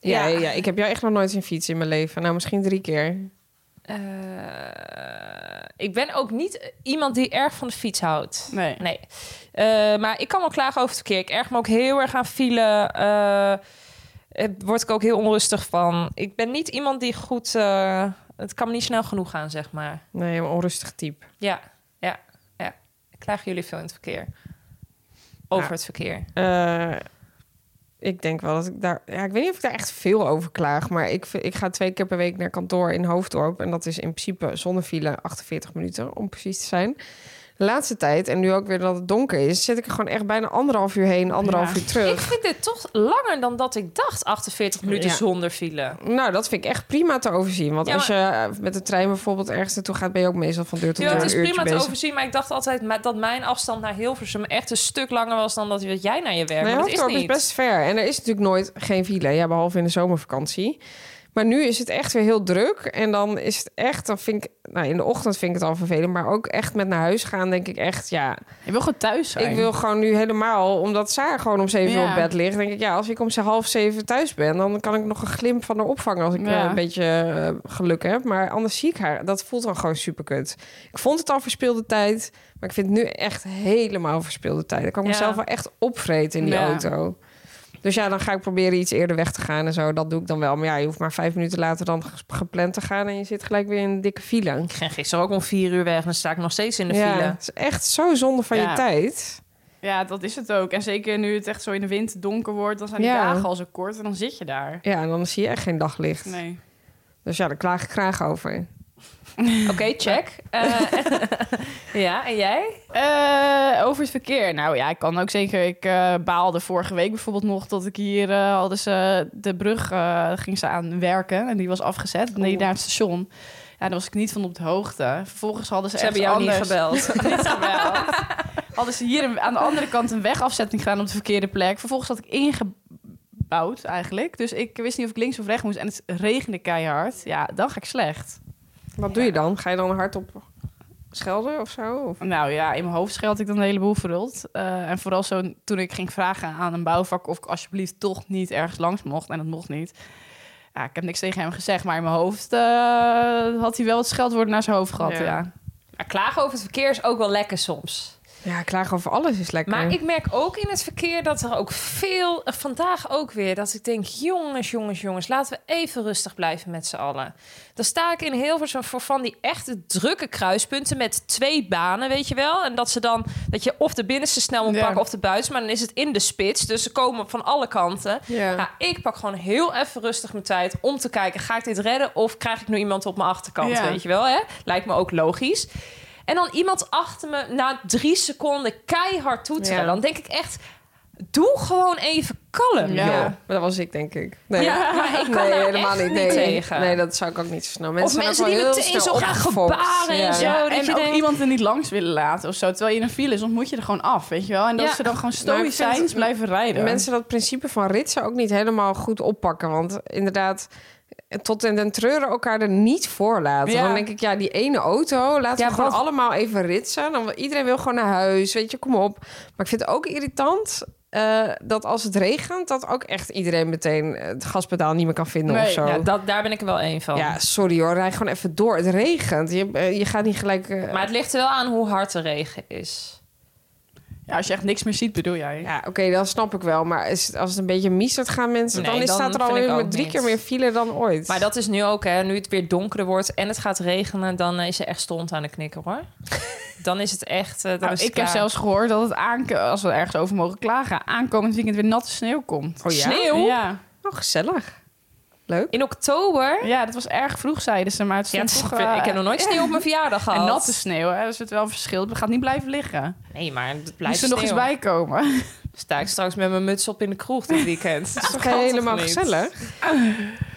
[SPEAKER 7] Ja. Ja, ik heb jou echt nog nooit een fiets in mijn leven. Nou, misschien drie keer.
[SPEAKER 5] Eh, ik ben ook niet iemand die erg van de fiets houdt.
[SPEAKER 6] Nee.
[SPEAKER 5] Nee. Eh, maar ik kan wel klagen over het verkeer. Ik erg me ook heel erg aan file. eh eh, word ik ook heel onrustig van. Ik ben niet iemand die goed eh, het kan me niet snel genoeg gaan, zeg maar.
[SPEAKER 7] Nee, een onrustig type.
[SPEAKER 5] Ja, ja, ja. Ik klaag jullie veel in het verkeer. Over
[SPEAKER 7] Ja.
[SPEAKER 5] het verkeer.
[SPEAKER 7] Eh, ik denk wel dat ik daar... Ja, ik weet niet of ik daar echt veel over klaag. Maar ik, vind- ik ga twee keer per week naar kantoor in Hoofddorp. En dat is in principe zonder file 48 minuten, om precies te zijn. De laatste tijd, en nu ook weer dat het donker is... zit ik er gewoon echt bijna anderhalf uur heen, anderhalf uur terug.
[SPEAKER 5] Ik vind dit toch langer dan dat ik dacht. 48 minuten
[SPEAKER 7] Ja.
[SPEAKER 5] zonder file.
[SPEAKER 7] Nou, dat vind ik echt prima te overzien. Want
[SPEAKER 5] Ja,
[SPEAKER 7] als je eh, met de trein bijvoorbeeld ergens naartoe gaat... ben je ook meestal van deur tot
[SPEAKER 5] Ja,
[SPEAKER 7] deur
[SPEAKER 5] het
[SPEAKER 7] een
[SPEAKER 5] is
[SPEAKER 7] uurtje
[SPEAKER 5] prima te
[SPEAKER 7] bezig.
[SPEAKER 5] overzien, maar ik dacht altijd ma- dat mijn afstand naar Hilversum echt een stuk langer was dan dat wat jij naar je werk.
[SPEAKER 7] Nee,
[SPEAKER 5] maar dat is
[SPEAKER 7] Hoofddorp is
[SPEAKER 5] niet.
[SPEAKER 7] best ver. En er is natuurlijk nooit geen file. Ja, behalve in de zomervakantie. Maar nu is het echt weer heel druk. En dan is het echt... Dan vind ik, nou, in de ochtend vind ik het al vervelend. Maar ook echt met naar huis gaan, denk ik echt... Ja,
[SPEAKER 6] Je wil gewoon thuis zijn.
[SPEAKER 7] ik wil gewoon nu helemaal... Omdat zij gewoon om zeven uur
[SPEAKER 6] Ja.
[SPEAKER 7] op bed ligt. denk ik, ja, als ik om ze half zeven thuis ben... dan kan ik nog een glimp van haar opvangen... als ik eh,
[SPEAKER 6] Ja.
[SPEAKER 7] een beetje eh, geluk heb. Maar anders zie ik haar. Dat voelt dan gewoon superkut. Ik vond het al verspilde tijd... maar ik vind het nu echt helemaal verspilde tijd. Dan kan ik
[SPEAKER 5] Ja.
[SPEAKER 7] mezelf wel echt opvreten in die
[SPEAKER 6] Ja.
[SPEAKER 7] auto. Dus ja, dan ga ik proberen iets eerder weg te gaan en zo. Dat doe ik dan wel. Maar ja, je hoeft maar vijf minuten later dan ges- gepland te gaan... en je zit gelijk weer in een dikke file.
[SPEAKER 5] Ik ging gisteren ook om vier uur weg, dan sta ik nog steeds in de
[SPEAKER 7] ja,
[SPEAKER 5] file.
[SPEAKER 7] het is echt zo zonde van je
[SPEAKER 6] Ja.
[SPEAKER 7] tijd.
[SPEAKER 6] Ja, dat is het ook. En zeker nu het echt zo in de wind donker wordt, dan zijn die
[SPEAKER 7] Ja.
[SPEAKER 6] dagen al zo kort en dan zit je daar.
[SPEAKER 7] Ja, en dan zie je echt geen daglicht.
[SPEAKER 6] Nee.
[SPEAKER 7] Dus ja, daar klaag ik graag over.
[SPEAKER 5] Oké, check. Eh, ja, en jij?
[SPEAKER 6] Eh, over het verkeer. Nou ja, ik kan ook zeker. Ik eh, baalde vorige week bijvoorbeeld nog dat ik hier eh, hadden ze de brug eh, ging ze aan werken en die was afgezet. Nee, daar aan het station. Ja, daar was ik niet van op de hoogte. Vervolgens hadden ze,
[SPEAKER 5] Ze
[SPEAKER 6] echt
[SPEAKER 5] hebben jou
[SPEAKER 6] anders.
[SPEAKER 5] niet gebeld.
[SPEAKER 6] Niet gebeld. hadden ze hier een- aan de andere kant een wegafzetting gedaan op de verkeerde plek. Vervolgens had ik ingebouwd eigenlijk. Dus ik wist niet of ik links of rechts moest. En het regende keihard. Ja, dan ga ik slecht.
[SPEAKER 7] Wat doe je dan? Ga je dan hardop schelden of zo? Of-
[SPEAKER 6] Nou ja, in mijn hoofd scheld ik dan een heleboel verruld. Eh, en vooral zo toen ik ging vragen aan een bouwvak of ik alsjeblieft toch niet ergens langs mocht. En dat mocht niet. Ja, ik heb niks tegen hem gezegd, maar in mijn hoofd eh, had hij wel het scheldwoord naar zijn hoofd gehad.
[SPEAKER 7] Ja.
[SPEAKER 6] Ja.
[SPEAKER 5] Maar klagen over het verkeer is ook wel lekker soms.
[SPEAKER 7] Ja, klagen over alles is lekker.
[SPEAKER 5] Maar ik merk ook in het verkeer dat er ook veel, eh, vandaag ook weer, dat ik denk: jongens, jongens, jongens, laten we even rustig blijven met z'n allen. Dan sta ik in Hilversum voor van die echte drukke kruispunten met twee banen, weet je wel. En dat ze dan, dat je of de binnenste snel moet
[SPEAKER 6] Ja.
[SPEAKER 5] pakken of de buitenste, maar dan is het in de spits. Dus ze komen van alle kanten.
[SPEAKER 7] Ja.
[SPEAKER 5] Nou, ik pak gewoon heel even rustig mijn tijd om te kijken: ga ik dit redden of krijg ik nu iemand op mijn achterkant?
[SPEAKER 6] Ja.
[SPEAKER 5] Weet je wel, hè? Lijkt me ook logisch. En dan iemand achter me na drie seconden keihard toeteren.
[SPEAKER 7] Ja.
[SPEAKER 5] Dan denk ik echt, doe gewoon even kalm,
[SPEAKER 7] ja.
[SPEAKER 5] joh.
[SPEAKER 7] maar dat was ik, denk ik. Nee,
[SPEAKER 5] Ja, maar ik kan
[SPEAKER 7] nee
[SPEAKER 5] daar
[SPEAKER 7] helemaal
[SPEAKER 5] echt
[SPEAKER 7] niet.
[SPEAKER 5] niet
[SPEAKER 7] Nee.
[SPEAKER 5] tegen.
[SPEAKER 7] nee, dat zou ik ook niet zo snel. Mensen
[SPEAKER 5] of mensen
[SPEAKER 7] zijn
[SPEAKER 5] die
[SPEAKER 7] ook wel
[SPEAKER 5] meteen
[SPEAKER 7] heel
[SPEAKER 5] zo
[SPEAKER 7] snel
[SPEAKER 5] gaan
[SPEAKER 7] opgefokt.
[SPEAKER 5] gebaren en zo.
[SPEAKER 6] Ja,
[SPEAKER 5] dat
[SPEAKER 6] en
[SPEAKER 5] je
[SPEAKER 6] ook
[SPEAKER 5] denkt-
[SPEAKER 6] iemand er niet langs willen laten of zo. Terwijl je in een file is, dan moet je er gewoon af, weet je wel. En dat
[SPEAKER 5] Ja.
[SPEAKER 6] ze dan gewoon
[SPEAKER 7] Nou, ik vind
[SPEAKER 6] stoïcijns
[SPEAKER 7] het-
[SPEAKER 6] blijven rijden.
[SPEAKER 7] Mensen dat principe van ritsen ook niet helemaal goed oppakken. Want inderdaad, tot en den treuren elkaar er niet voor laten.
[SPEAKER 6] Ja.
[SPEAKER 7] Dan denk ik, ja, die ene auto, laten
[SPEAKER 5] Ja,
[SPEAKER 7] we gewoon
[SPEAKER 5] wat-
[SPEAKER 7] allemaal even ritsen. Dan, wil- iedereen wil gewoon naar huis, weet je, kom op. Maar ik vind het ook irritant eh, dat als het regent... dat ook echt iedereen meteen eh, het gaspedaal niet meer kan vinden
[SPEAKER 6] Nee,
[SPEAKER 7] of zo.
[SPEAKER 5] Ja,
[SPEAKER 7] Ja,
[SPEAKER 5] dat, daar ben ik er wel één van.
[SPEAKER 7] sorry hoor, rij gewoon even door. Het regent. Je, eh, je gaat niet gelijk... eh,
[SPEAKER 5] Maar het ligt er wel aan hoe hard de regen is.
[SPEAKER 6] Ja, als je echt niks meer ziet, bedoel jij.
[SPEAKER 7] Ja, oké, dat snap ik wel. Maar is het- als het een beetje miezert gaan mensen...
[SPEAKER 5] Nee,
[SPEAKER 7] dan, is
[SPEAKER 5] dan
[SPEAKER 7] staat er
[SPEAKER 5] vind ik
[SPEAKER 7] alweer
[SPEAKER 5] ook
[SPEAKER 7] met drie
[SPEAKER 5] niet.
[SPEAKER 7] keer meer file dan ooit.
[SPEAKER 5] Maar dat is nu ook, hè. Nu het weer donkerder wordt en het gaat regenen... dan eh, is er echt stond aan de knikker, hoor. dan is het echt... eh, dan
[SPEAKER 6] Nou,
[SPEAKER 5] is het
[SPEAKER 6] ik heb
[SPEAKER 5] klaar.
[SPEAKER 6] zelfs gehoord dat het, aank- als we ergens over mogen klagen, aankomend weekend weer natte sneeuw komt.
[SPEAKER 7] Oh ja?
[SPEAKER 5] Sneeuw?
[SPEAKER 6] Ja.
[SPEAKER 7] Oh, gezellig. Leuk.
[SPEAKER 5] In oktober...
[SPEAKER 6] Ja, dat was erg vroeg, zeiden ze. Maar het
[SPEAKER 5] Ja, het
[SPEAKER 6] stond
[SPEAKER 5] is-
[SPEAKER 6] toch... eh,
[SPEAKER 5] ik heb nog nooit sneeuw op mijn verjaardag gehad.
[SPEAKER 6] En natte sneeuw, hè. Dus het wel een verschil. Het gaat niet blijven liggen.
[SPEAKER 5] Nee, maar het blijft
[SPEAKER 6] Moest er
[SPEAKER 5] sneeuw.
[SPEAKER 6] nog eens bij komen.
[SPEAKER 5] Sta ik straks met mijn muts op in de kroeg dit weekend.
[SPEAKER 7] Dat is toch
[SPEAKER 5] kan toch
[SPEAKER 7] helemaal
[SPEAKER 5] niet?
[SPEAKER 7] gezellig?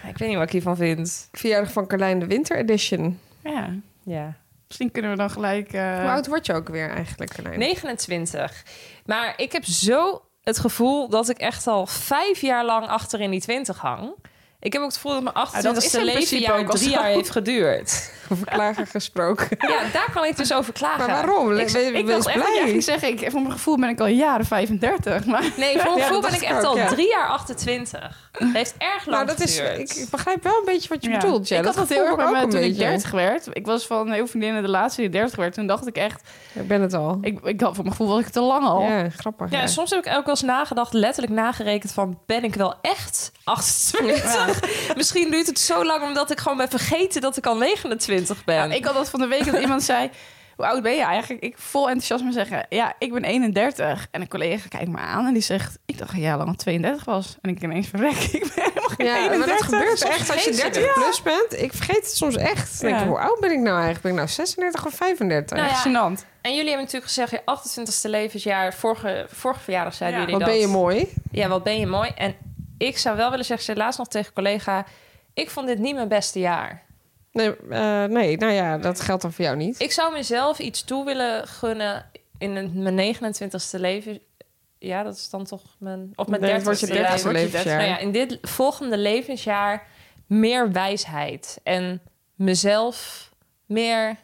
[SPEAKER 5] Ik weet niet wat ik hiervan vind.
[SPEAKER 7] Verjaardag van Carlijn de Winter Edition.
[SPEAKER 6] Ja.
[SPEAKER 5] Ja.
[SPEAKER 6] Misschien kunnen we dan gelijk... eh,
[SPEAKER 7] Hoe oud word je ook weer eigenlijk, Carlijn?
[SPEAKER 5] 29. Maar ik heb zo het gevoel dat ik echt al vijf jaar lang achter in die 20 hang. Ik heb ook het gevoel dat mijn
[SPEAKER 6] Ah, dat is
[SPEAKER 5] 28ste
[SPEAKER 6] in principe
[SPEAKER 5] levenjaar
[SPEAKER 6] ook al
[SPEAKER 5] drie
[SPEAKER 6] zo.
[SPEAKER 5] jaar heeft geduurd.
[SPEAKER 7] Over klagen gesproken.
[SPEAKER 5] Ja, daar kan ik dus over klagen.
[SPEAKER 7] Maar waarom?
[SPEAKER 6] ik,
[SPEAKER 7] Wees- wees
[SPEAKER 6] ik dacht echt dat jij
[SPEAKER 7] blij.
[SPEAKER 6] ging zeggen, ik, voor mijn gevoel ben ik al jaren 35. Maar
[SPEAKER 5] Nee, voor mijn
[SPEAKER 7] Ja,
[SPEAKER 5] gevoel
[SPEAKER 7] dat
[SPEAKER 5] ben ik
[SPEAKER 7] dacht ik
[SPEAKER 5] echt
[SPEAKER 7] ook,
[SPEAKER 5] al
[SPEAKER 7] ja.
[SPEAKER 5] drie jaar 28. Het heeft erg lang
[SPEAKER 7] Nou, dat is,
[SPEAKER 5] geduurd.
[SPEAKER 7] ik, ik begrijp wel een beetje wat je
[SPEAKER 6] Ja.
[SPEAKER 7] bedoelt. Ja,
[SPEAKER 6] ik had dat heel
[SPEAKER 7] gevoel
[SPEAKER 6] erg bij
[SPEAKER 7] ik
[SPEAKER 6] me
[SPEAKER 7] ook
[SPEAKER 6] toen
[SPEAKER 7] een
[SPEAKER 6] ik
[SPEAKER 7] beetje.
[SPEAKER 6] 30 werd. Ik was van heel vriendinnen de laatste die 30 werd. Toen dacht ik echt...
[SPEAKER 7] Ik ben het al.
[SPEAKER 6] Ik, ik had voor mijn gevoel was ik te lang al.
[SPEAKER 7] Ja, grappig.
[SPEAKER 5] Ja,
[SPEAKER 7] ja.
[SPEAKER 5] en soms heb ik ook wel eens nagedacht, letterlijk nagerekend van... ben ik wel echt 28. Misschien duurt het zo lang omdat ik gewoon ben vergeten dat ik al 29 ben.
[SPEAKER 6] Ja, ik had dat van de week dat iemand zei... Hoe oud ben je eigenlijk? Ik vol enthousiasme zeggen... Ja, ik ben 31. En een collega kijkt me aan en die zegt... Ik dacht een jaar lang 32 was. En ik ineens verrek. Ik ben helemaal geen
[SPEAKER 7] Ja,
[SPEAKER 6] 31.
[SPEAKER 7] maar dat gebeurt echt als je
[SPEAKER 5] vergeet je
[SPEAKER 7] 30 plus bent. Ik vergeet het soms echt. Dan
[SPEAKER 6] Ja.
[SPEAKER 7] Denk ik, hoe oud ben ik nou eigenlijk? Ben ik nou 36 of 35?
[SPEAKER 5] Nou ja,
[SPEAKER 6] Echt gênant.
[SPEAKER 5] En jullie hebben natuurlijk gezegd, je 28ste levensjaar, vorige, vorige verjaardag zeiden
[SPEAKER 6] Ja.
[SPEAKER 5] jullie
[SPEAKER 7] Wat
[SPEAKER 5] dat.
[SPEAKER 7] ben je mooi?
[SPEAKER 5] Ja, wat ben je mooi. En ik zou wel willen zeggen, ze laatst nog tegen een collega, ik vond dit niet mijn beste jaar.
[SPEAKER 7] Nee, eh, nee, nou ja, dat geldt dan voor jou niet.
[SPEAKER 5] Ik zou mezelf iets toe willen gunnen in het- mijn 29ste leven. Ja, dat is dan toch mijn... Of mijn
[SPEAKER 7] Nee, het
[SPEAKER 5] 30ste
[SPEAKER 7] wordt je
[SPEAKER 6] dus
[SPEAKER 7] 30ste
[SPEAKER 5] leven.
[SPEAKER 7] levensjaar.
[SPEAKER 5] Nou ja, in dit volgende levensjaar meer wijsheid. En mezelf meer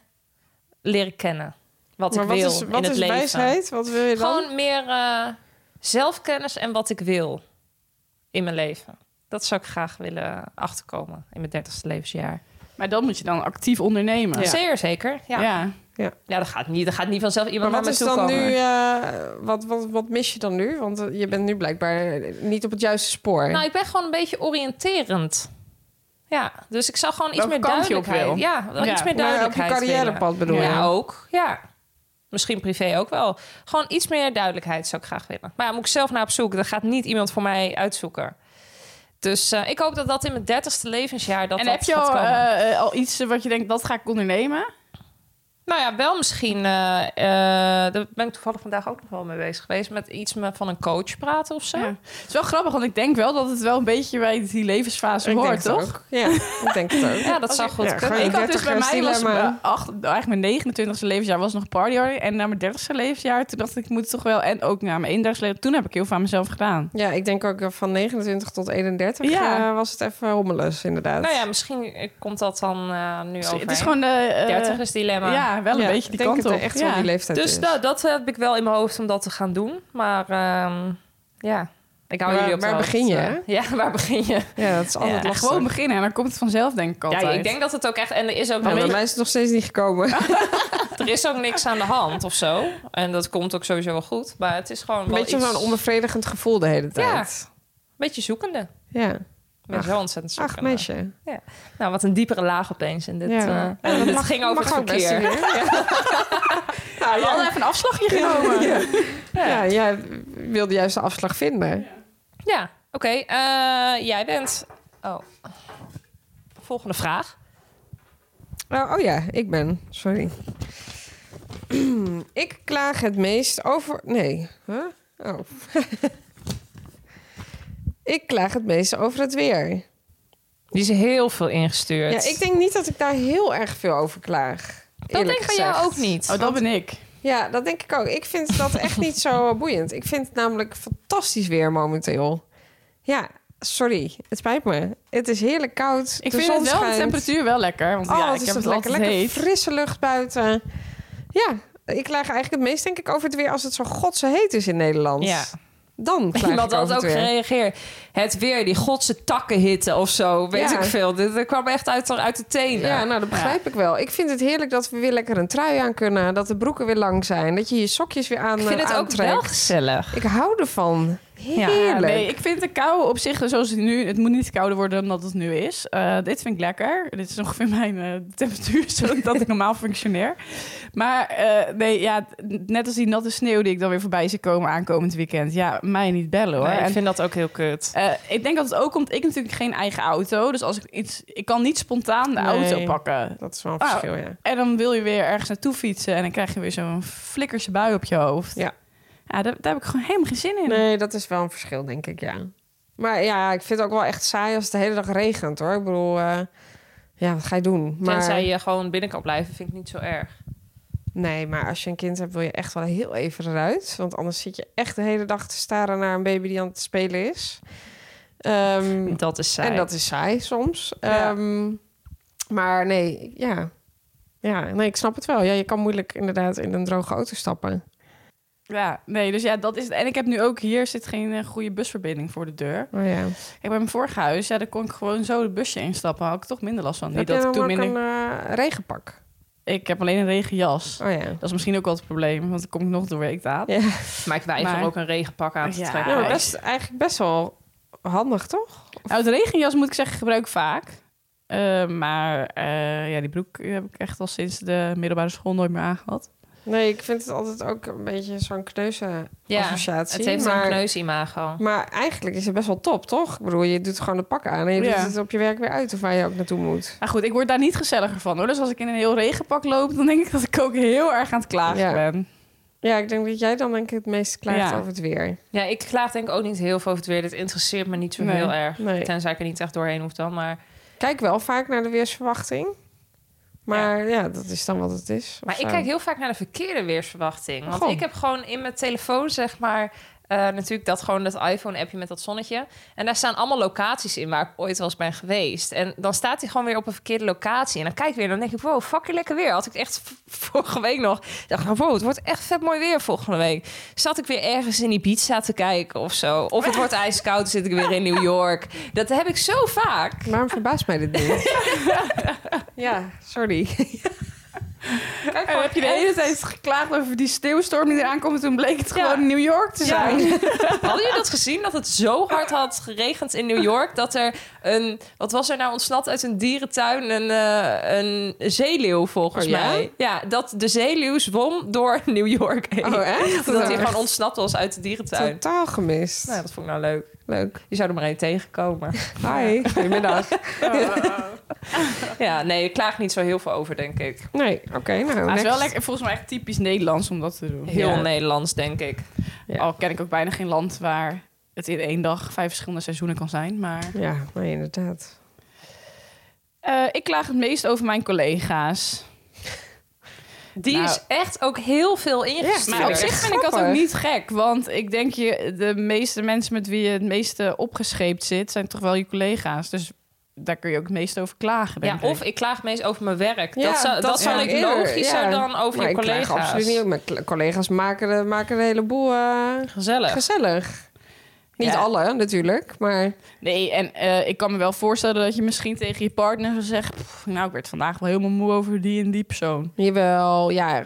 [SPEAKER 5] leren kennen. Wat
[SPEAKER 7] maar
[SPEAKER 5] ik
[SPEAKER 7] wat
[SPEAKER 5] wil
[SPEAKER 7] is, wat
[SPEAKER 5] in het
[SPEAKER 7] is
[SPEAKER 5] leven.
[SPEAKER 7] wijsheid? Wat wil je dan?
[SPEAKER 5] Gewoon meer eh, zelfkennis en wat ik wil in mijn leven. Dat zou ik graag willen achterkomen in mijn 30ste levensjaar.
[SPEAKER 6] Maar dan moet je dan actief ondernemen.
[SPEAKER 5] Zeer zeker. Ja,
[SPEAKER 6] Ja.
[SPEAKER 5] ja.
[SPEAKER 6] Ja.
[SPEAKER 5] dat, gaat niet, dat gaat niet vanzelf
[SPEAKER 7] Maar
[SPEAKER 5] iemand naar
[SPEAKER 7] wat
[SPEAKER 5] me
[SPEAKER 7] is
[SPEAKER 5] toe
[SPEAKER 7] dan
[SPEAKER 5] komen.
[SPEAKER 7] nu, eh, wat, wat, wat mis je dan nu? Want eh, je bent nu blijkbaar niet op het juiste spoor.
[SPEAKER 5] Nou, ik ben gewoon een beetje oriënterend. Ja, dus ik zou gewoon iets
[SPEAKER 6] Welke
[SPEAKER 5] meer
[SPEAKER 6] kant je op
[SPEAKER 5] duidelijkheid.
[SPEAKER 6] wil.
[SPEAKER 5] Ja, wel
[SPEAKER 6] Ja.
[SPEAKER 5] iets meer
[SPEAKER 7] Maar op je
[SPEAKER 5] duidelijkheid.
[SPEAKER 7] carrièrepad
[SPEAKER 5] willen.
[SPEAKER 7] bedoel je?
[SPEAKER 5] Ja, ook. Ja. Misschien privé ook wel. Gewoon iets meer duidelijkheid zou ik graag willen. Maar ja, moet ik zelf naar op zoek. Dat gaat niet iemand voor mij uitzoeken. Dus eh, ik hoop dat dat in mijn dertigste levensjaar dat
[SPEAKER 6] en
[SPEAKER 5] dat
[SPEAKER 6] heb je
[SPEAKER 5] gaat
[SPEAKER 6] al,
[SPEAKER 5] komen.
[SPEAKER 6] eh, eh, al iets eh, wat je denkt, dat ga ik ondernemen?
[SPEAKER 5] Nou ja, wel misschien. eh, eh, daar ben ik toevallig vandaag ook nog wel mee bezig geweest. Met iets me- van een coach praten of zo.
[SPEAKER 6] Ja. Het is wel grappig, want ik denk wel dat het wel een beetje bij die levensfase
[SPEAKER 7] ik denk
[SPEAKER 6] hoort,
[SPEAKER 7] het
[SPEAKER 6] toch?
[SPEAKER 7] ook. Ja, ik denk het ook.
[SPEAKER 5] Ja,
[SPEAKER 6] Oh,
[SPEAKER 5] dat zou goed
[SPEAKER 7] ja,
[SPEAKER 5] kunnen.
[SPEAKER 7] gewoon
[SPEAKER 6] Ik had dus bij mij was
[SPEAKER 7] dilemma.
[SPEAKER 6] mijn, acht, nou, eigenlijk mijn 29e levensjaar was nog party En na mijn 30e levensjaar, toen dacht ik, ik moet toch wel. En ook na mijn 31e levensjaar, toen heb ik heel veel aan mezelf gedaan.
[SPEAKER 7] Ja, ik denk ook eh, van 29 tot 31
[SPEAKER 6] Ja.
[SPEAKER 7] eh, was het even hommeles, inderdaad.
[SPEAKER 5] Nou ja, misschien eh, komt dat dan eh, nu
[SPEAKER 6] Dus
[SPEAKER 5] over.
[SPEAKER 6] het is gewoon de. eh,
[SPEAKER 5] 30 is dilemma.
[SPEAKER 6] ja, wel een
[SPEAKER 7] Ja,
[SPEAKER 6] beetje die
[SPEAKER 7] ik denk
[SPEAKER 6] kant
[SPEAKER 7] het
[SPEAKER 6] op.
[SPEAKER 7] echt
[SPEAKER 6] ja.
[SPEAKER 7] wel die leeftijd
[SPEAKER 5] Dus
[SPEAKER 7] is.
[SPEAKER 5] dat, dat heb ik wel in mijn hoofd om dat te gaan doen. Maar ehm, ja, ik hou
[SPEAKER 7] Waar-
[SPEAKER 5] jullie op de
[SPEAKER 7] waar
[SPEAKER 5] hoogte.
[SPEAKER 7] begin je, hè?
[SPEAKER 5] Ja, waar begin je?
[SPEAKER 7] Ja, dat is altijd
[SPEAKER 5] Ja,
[SPEAKER 6] Ja,
[SPEAKER 7] lastig.
[SPEAKER 6] gewoon beginnen en dan komt het vanzelf, denk ik altijd.
[SPEAKER 5] Ja, ik denk dat het ook echt... En er is ook,
[SPEAKER 7] Ja, bij
[SPEAKER 5] weet je,
[SPEAKER 7] mij is het nog steeds niet gekomen.
[SPEAKER 5] Oh, er is ook niks aan de hand of zo. En dat komt ook sowieso wel goed. Maar het is gewoon
[SPEAKER 7] Een
[SPEAKER 5] wel
[SPEAKER 7] beetje
[SPEAKER 5] iets-
[SPEAKER 7] zo'n onbevredigend gevoel de hele tijd.
[SPEAKER 5] beetje zoekende.
[SPEAKER 7] Ja.
[SPEAKER 5] Ik ben
[SPEAKER 7] Ach,
[SPEAKER 5] zo ontzettend zoekende.
[SPEAKER 7] Ach, meisje.
[SPEAKER 5] Nou, wat een diepere laag opeens in dit.
[SPEAKER 7] Ja.
[SPEAKER 5] eh,
[SPEAKER 7] Ja,
[SPEAKER 5] en
[SPEAKER 7] dat
[SPEAKER 5] dit
[SPEAKER 7] mag-
[SPEAKER 5] ging over
[SPEAKER 7] mag
[SPEAKER 5] het
[SPEAKER 7] ook best
[SPEAKER 5] verkeer.
[SPEAKER 7] weer. Ja.
[SPEAKER 6] Ah, Ja, we hadden even een afslagje genomen.
[SPEAKER 7] Ja, jij wilde juist de afslag vinden.
[SPEAKER 5] Ja, oké. eh, jij bent... Oh. Volgende vraag.
[SPEAKER 7] Oh, oh ja, ik ben. Sorry. ik klaag het meest over. Nee. Huh? Oh. ik klaag het meest over het weer.
[SPEAKER 5] Die is heel veel ingestuurd.
[SPEAKER 7] Ja, ik denk niet dat ik daar heel erg veel over klaag.
[SPEAKER 5] Dat
[SPEAKER 7] eerlijk
[SPEAKER 5] denk ik van jou
[SPEAKER 7] gezegd.
[SPEAKER 5] ook niet.
[SPEAKER 6] Oh, dat ben ik.
[SPEAKER 7] Ja, dat denk ik ook. Ik vind dat echt niet zo boeiend. Ik vind het namelijk fantastisch weer momenteel. Ja, sorry. Het spijt me. Het is heerlijk koud.
[SPEAKER 6] Ik
[SPEAKER 7] de
[SPEAKER 6] vind
[SPEAKER 7] zon
[SPEAKER 6] het wel
[SPEAKER 7] schijnt.
[SPEAKER 6] de temperatuur wel lekker. Want
[SPEAKER 7] Oh,
[SPEAKER 6] ja,
[SPEAKER 7] wat
[SPEAKER 6] ik
[SPEAKER 7] is
[SPEAKER 6] heb
[SPEAKER 7] dat
[SPEAKER 6] het
[SPEAKER 7] lekker.
[SPEAKER 6] altijd
[SPEAKER 7] Lekker
[SPEAKER 6] heet.
[SPEAKER 7] frisse lucht buiten. Ja, ik klaag eigenlijk het meest denk ik over het weer als het zo godse heet is in Nederland.
[SPEAKER 5] Ja.
[SPEAKER 7] Dan klaag
[SPEAKER 5] Iemand
[SPEAKER 7] ik
[SPEAKER 5] had
[SPEAKER 7] over
[SPEAKER 5] ook
[SPEAKER 7] het weer.
[SPEAKER 5] gereageerd. Het weer, die godse takken hitte of zo. Weet
[SPEAKER 7] Ja.
[SPEAKER 5] ik veel. Dit, dit kwam echt uit, uit de tenen.
[SPEAKER 7] Ja, nou dat begrijp ik wel. Ik vind het heerlijk dat we weer lekker een trui aan kunnen. Dat de broeken weer lang zijn. Dat je je sokjes weer aan
[SPEAKER 5] ik vind het ook
[SPEAKER 7] aantrekt.
[SPEAKER 5] wel gezellig.
[SPEAKER 7] Ik hou ervan.
[SPEAKER 5] Ja,
[SPEAKER 7] Heerlijk.
[SPEAKER 6] Ja, nee, ik vind de kou op zich, zoals het nu... Het moet niet kouder worden dan dat het nu is. Eh, dit vind ik lekker. Dit is ongeveer mijn eh, temperatuur, zodat ik normaal functioneer. Maar eh, nee, ja, net als die natte sneeuw die ik dan weer voorbij zie komen aankomend weekend. Ja, mij niet bellen hoor. En,
[SPEAKER 5] vind dat ook heel kut.
[SPEAKER 6] eh, ik denk dat het ook komt, ik heb natuurlijk geen eigen auto. Dus als ik iets... Ik kan niet spontaan de
[SPEAKER 7] Nee.
[SPEAKER 6] auto pakken.
[SPEAKER 7] Dat is wel een
[SPEAKER 6] Oh.
[SPEAKER 7] verschil, ja.
[SPEAKER 6] En dan wil je weer ergens naartoe fietsen en dan krijg je weer zo'n flikkerse bui op je hoofd.
[SPEAKER 7] Ja.
[SPEAKER 6] Ja, daar, daar heb ik gewoon helemaal geen zin in.
[SPEAKER 7] Nee, dat is wel een verschil, denk ik, ja. Maar ja, ik vind het ook wel echt saai als het de hele dag regent, hoor. Ik bedoel, eh, ja, wat ga je doen? Maar,
[SPEAKER 5] Tenzij je gewoon binnen kan blijven, vind ik niet zo erg.
[SPEAKER 7] Nee, maar als je een kind hebt, wil je echt wel heel even eruit. Want anders zit je echt de hele dag te staren naar een baby die aan het spelen is. Ehm,
[SPEAKER 5] Dat is saai.
[SPEAKER 7] en dat is saai soms.
[SPEAKER 6] Ja.
[SPEAKER 7] Ehm, maar nee, ja. Ja, nee, ik snap het wel. Ja, je kan moeilijk inderdaad in een droge auto stappen.
[SPEAKER 6] Ja, nee, dus ja, dat is het. En ik heb nu ook hier zit geen eh, goede busverbinding voor de deur.
[SPEAKER 7] Maar Oh ja.
[SPEAKER 6] Ik bij mijn vorige huis, ja, daar kon ik gewoon zo de busje instappen. Had ik toch minder last van. Niet
[SPEAKER 7] Heb je
[SPEAKER 6] dat ik
[SPEAKER 7] dan
[SPEAKER 6] toen
[SPEAKER 7] ook
[SPEAKER 6] minder.
[SPEAKER 7] een eh, regenpak?
[SPEAKER 6] Ik heb alleen een regenjas.
[SPEAKER 7] Oh ja.
[SPEAKER 6] Dat is misschien ook wel het probleem, want dan kom ik nog door week aan.
[SPEAKER 7] Ja.
[SPEAKER 5] Maar ik weiger
[SPEAKER 6] Maar-
[SPEAKER 5] ook een regenpak aan te
[SPEAKER 6] Ja.
[SPEAKER 5] trekken.
[SPEAKER 7] Ja, maar
[SPEAKER 6] Ah,
[SPEAKER 7] best, eigenlijk best wel handig, toch?
[SPEAKER 6] Nou, het regenjas moet ik zeggen gebruik ik vaak. Eh, maar eh, ja, die broek heb ik echt al sinds de middelbare school nooit meer aangehad.
[SPEAKER 7] Nee, ik vind het altijd ook een beetje zo'n kneuze
[SPEAKER 5] Ja,
[SPEAKER 7] associatie.
[SPEAKER 5] Het heeft
[SPEAKER 7] maar,
[SPEAKER 5] een kneusimago.
[SPEAKER 7] Maar eigenlijk is het best wel top, toch? Ik bedoel, je doet gewoon een pak aan en je
[SPEAKER 6] Ja.
[SPEAKER 7] doet het op je werk weer uit of waar je ook naartoe moet.
[SPEAKER 6] Maar goed, ik word daar niet gezelliger van hoor. Dus als ik in een heel regenpak loop, dan denk ik dat ik ook heel erg aan het klagen
[SPEAKER 7] Ja.
[SPEAKER 6] ben.
[SPEAKER 7] Ja, ik denk dat jij dan denk ik het meest klaagt
[SPEAKER 6] Ja.
[SPEAKER 7] over het weer.
[SPEAKER 5] Ja, ik klaag denk ik ook niet heel veel over het weer. Dat interesseert me niet zo
[SPEAKER 6] Nee,
[SPEAKER 5] heel erg.
[SPEAKER 7] nee.
[SPEAKER 5] Tenzij ik er niet echt doorheen hoef dan. Maar,
[SPEAKER 7] Kijk wel vaak naar de weersverwachting. Maar ja, dat is dan wat het is. of
[SPEAKER 5] maar ik
[SPEAKER 7] zo.
[SPEAKER 5] kijk heel vaak naar de verkeerde weersverwachting. Want
[SPEAKER 7] Goh.
[SPEAKER 5] ik heb gewoon in mijn telefoon, zeg maar... eh, natuurlijk dat gewoon dat iPhone-appje met dat zonnetje. En daar staan allemaal locaties in waar ik ooit wel eens ben geweest. En dan staat hij gewoon weer op een verkeerde locatie. En dan kijk ik weer en dan denk ik, wow, fucking lekker weer. Had ik echt v- vorige week nog. Ik dacht, nou, wow, het wordt echt vet mooi weer volgende week. Zat ik weer ergens in die pizza te kijken of zo. Of het wordt ijskoud, zit ik weer in New York. Dat heb ik zo vaak.
[SPEAKER 7] Waarom verbaast mij dit niet? ja, sorry.
[SPEAKER 6] En heb je de hele tijd geklaagd over die sneeuwstorm die eraan komt? Toen bleek het gewoon in New York te zijn.
[SPEAKER 5] Hadden jullie dat gezien? Dat het zo hard had geregend in New York... dat er een... Wat was er nou ontsnapt uit een dierentuin? Een, eh, een zeeleeuw, volgens
[SPEAKER 7] Oh, ja?
[SPEAKER 5] mij. Ja, dat de zeeleeuw zwom door New York heen.
[SPEAKER 7] Oh, echt?
[SPEAKER 5] Dat hij
[SPEAKER 7] Echt
[SPEAKER 5] gewoon ontsnapt was uit de dierentuin.
[SPEAKER 7] Totaal gemist.
[SPEAKER 5] Nou, dat vond ik nou leuk.
[SPEAKER 7] Leuk.
[SPEAKER 5] Je zou er maar één tegenkomen.
[SPEAKER 7] Hi, goedemiddag.
[SPEAKER 5] ja, nee, ik klaag niet zo heel veel over, denk ik.
[SPEAKER 7] Nee, oké, nou,
[SPEAKER 6] Maar het
[SPEAKER 7] next.
[SPEAKER 6] is wel lekker, volgens mij echt typisch Nederlands om dat te doen.
[SPEAKER 5] Heel
[SPEAKER 6] Ja.
[SPEAKER 5] Nederlands, denk ik.
[SPEAKER 7] Ja.
[SPEAKER 6] Al ken ik ook bijna geen land waar het in één dag vijf verschillende seizoenen kan zijn. Maar
[SPEAKER 7] Ja, nee, inderdaad.
[SPEAKER 6] Eh, ik klaag het meest over mijn collega's.
[SPEAKER 5] Die
[SPEAKER 6] Nou.
[SPEAKER 5] is echt ook heel veel ingestuurd.
[SPEAKER 6] Maar op zich vind ik dat ook
[SPEAKER 7] Grappig.
[SPEAKER 6] niet gek. Want ik denk, je, de meeste mensen met wie je het meeste opgescheept zit... zijn toch wel je collega's. Dus daar kun je ook het meest over klagen,
[SPEAKER 5] Ja,
[SPEAKER 6] denk ik.
[SPEAKER 5] of ik klaag meest over mijn werk.
[SPEAKER 7] Ja,
[SPEAKER 5] dat zou, dat
[SPEAKER 7] zou
[SPEAKER 5] zal ik
[SPEAKER 7] eerder,
[SPEAKER 5] logischer
[SPEAKER 7] ja.
[SPEAKER 5] dan over
[SPEAKER 7] maar
[SPEAKER 5] je
[SPEAKER 7] ik klaag
[SPEAKER 5] collega's.
[SPEAKER 7] absoluut niet. Mijn cl- collega's maken de, maken de hele boel eh,
[SPEAKER 5] Gezellig.
[SPEAKER 7] gezellig. Niet
[SPEAKER 6] Ja.
[SPEAKER 7] alle natuurlijk, maar
[SPEAKER 6] Nee, en eh, ik kan me wel voorstellen dat je misschien tegen je partner zou zeggen... "Pff, nou, ik werd vandaag wel helemaal moe over die en die persoon.
[SPEAKER 7] jawel, ja.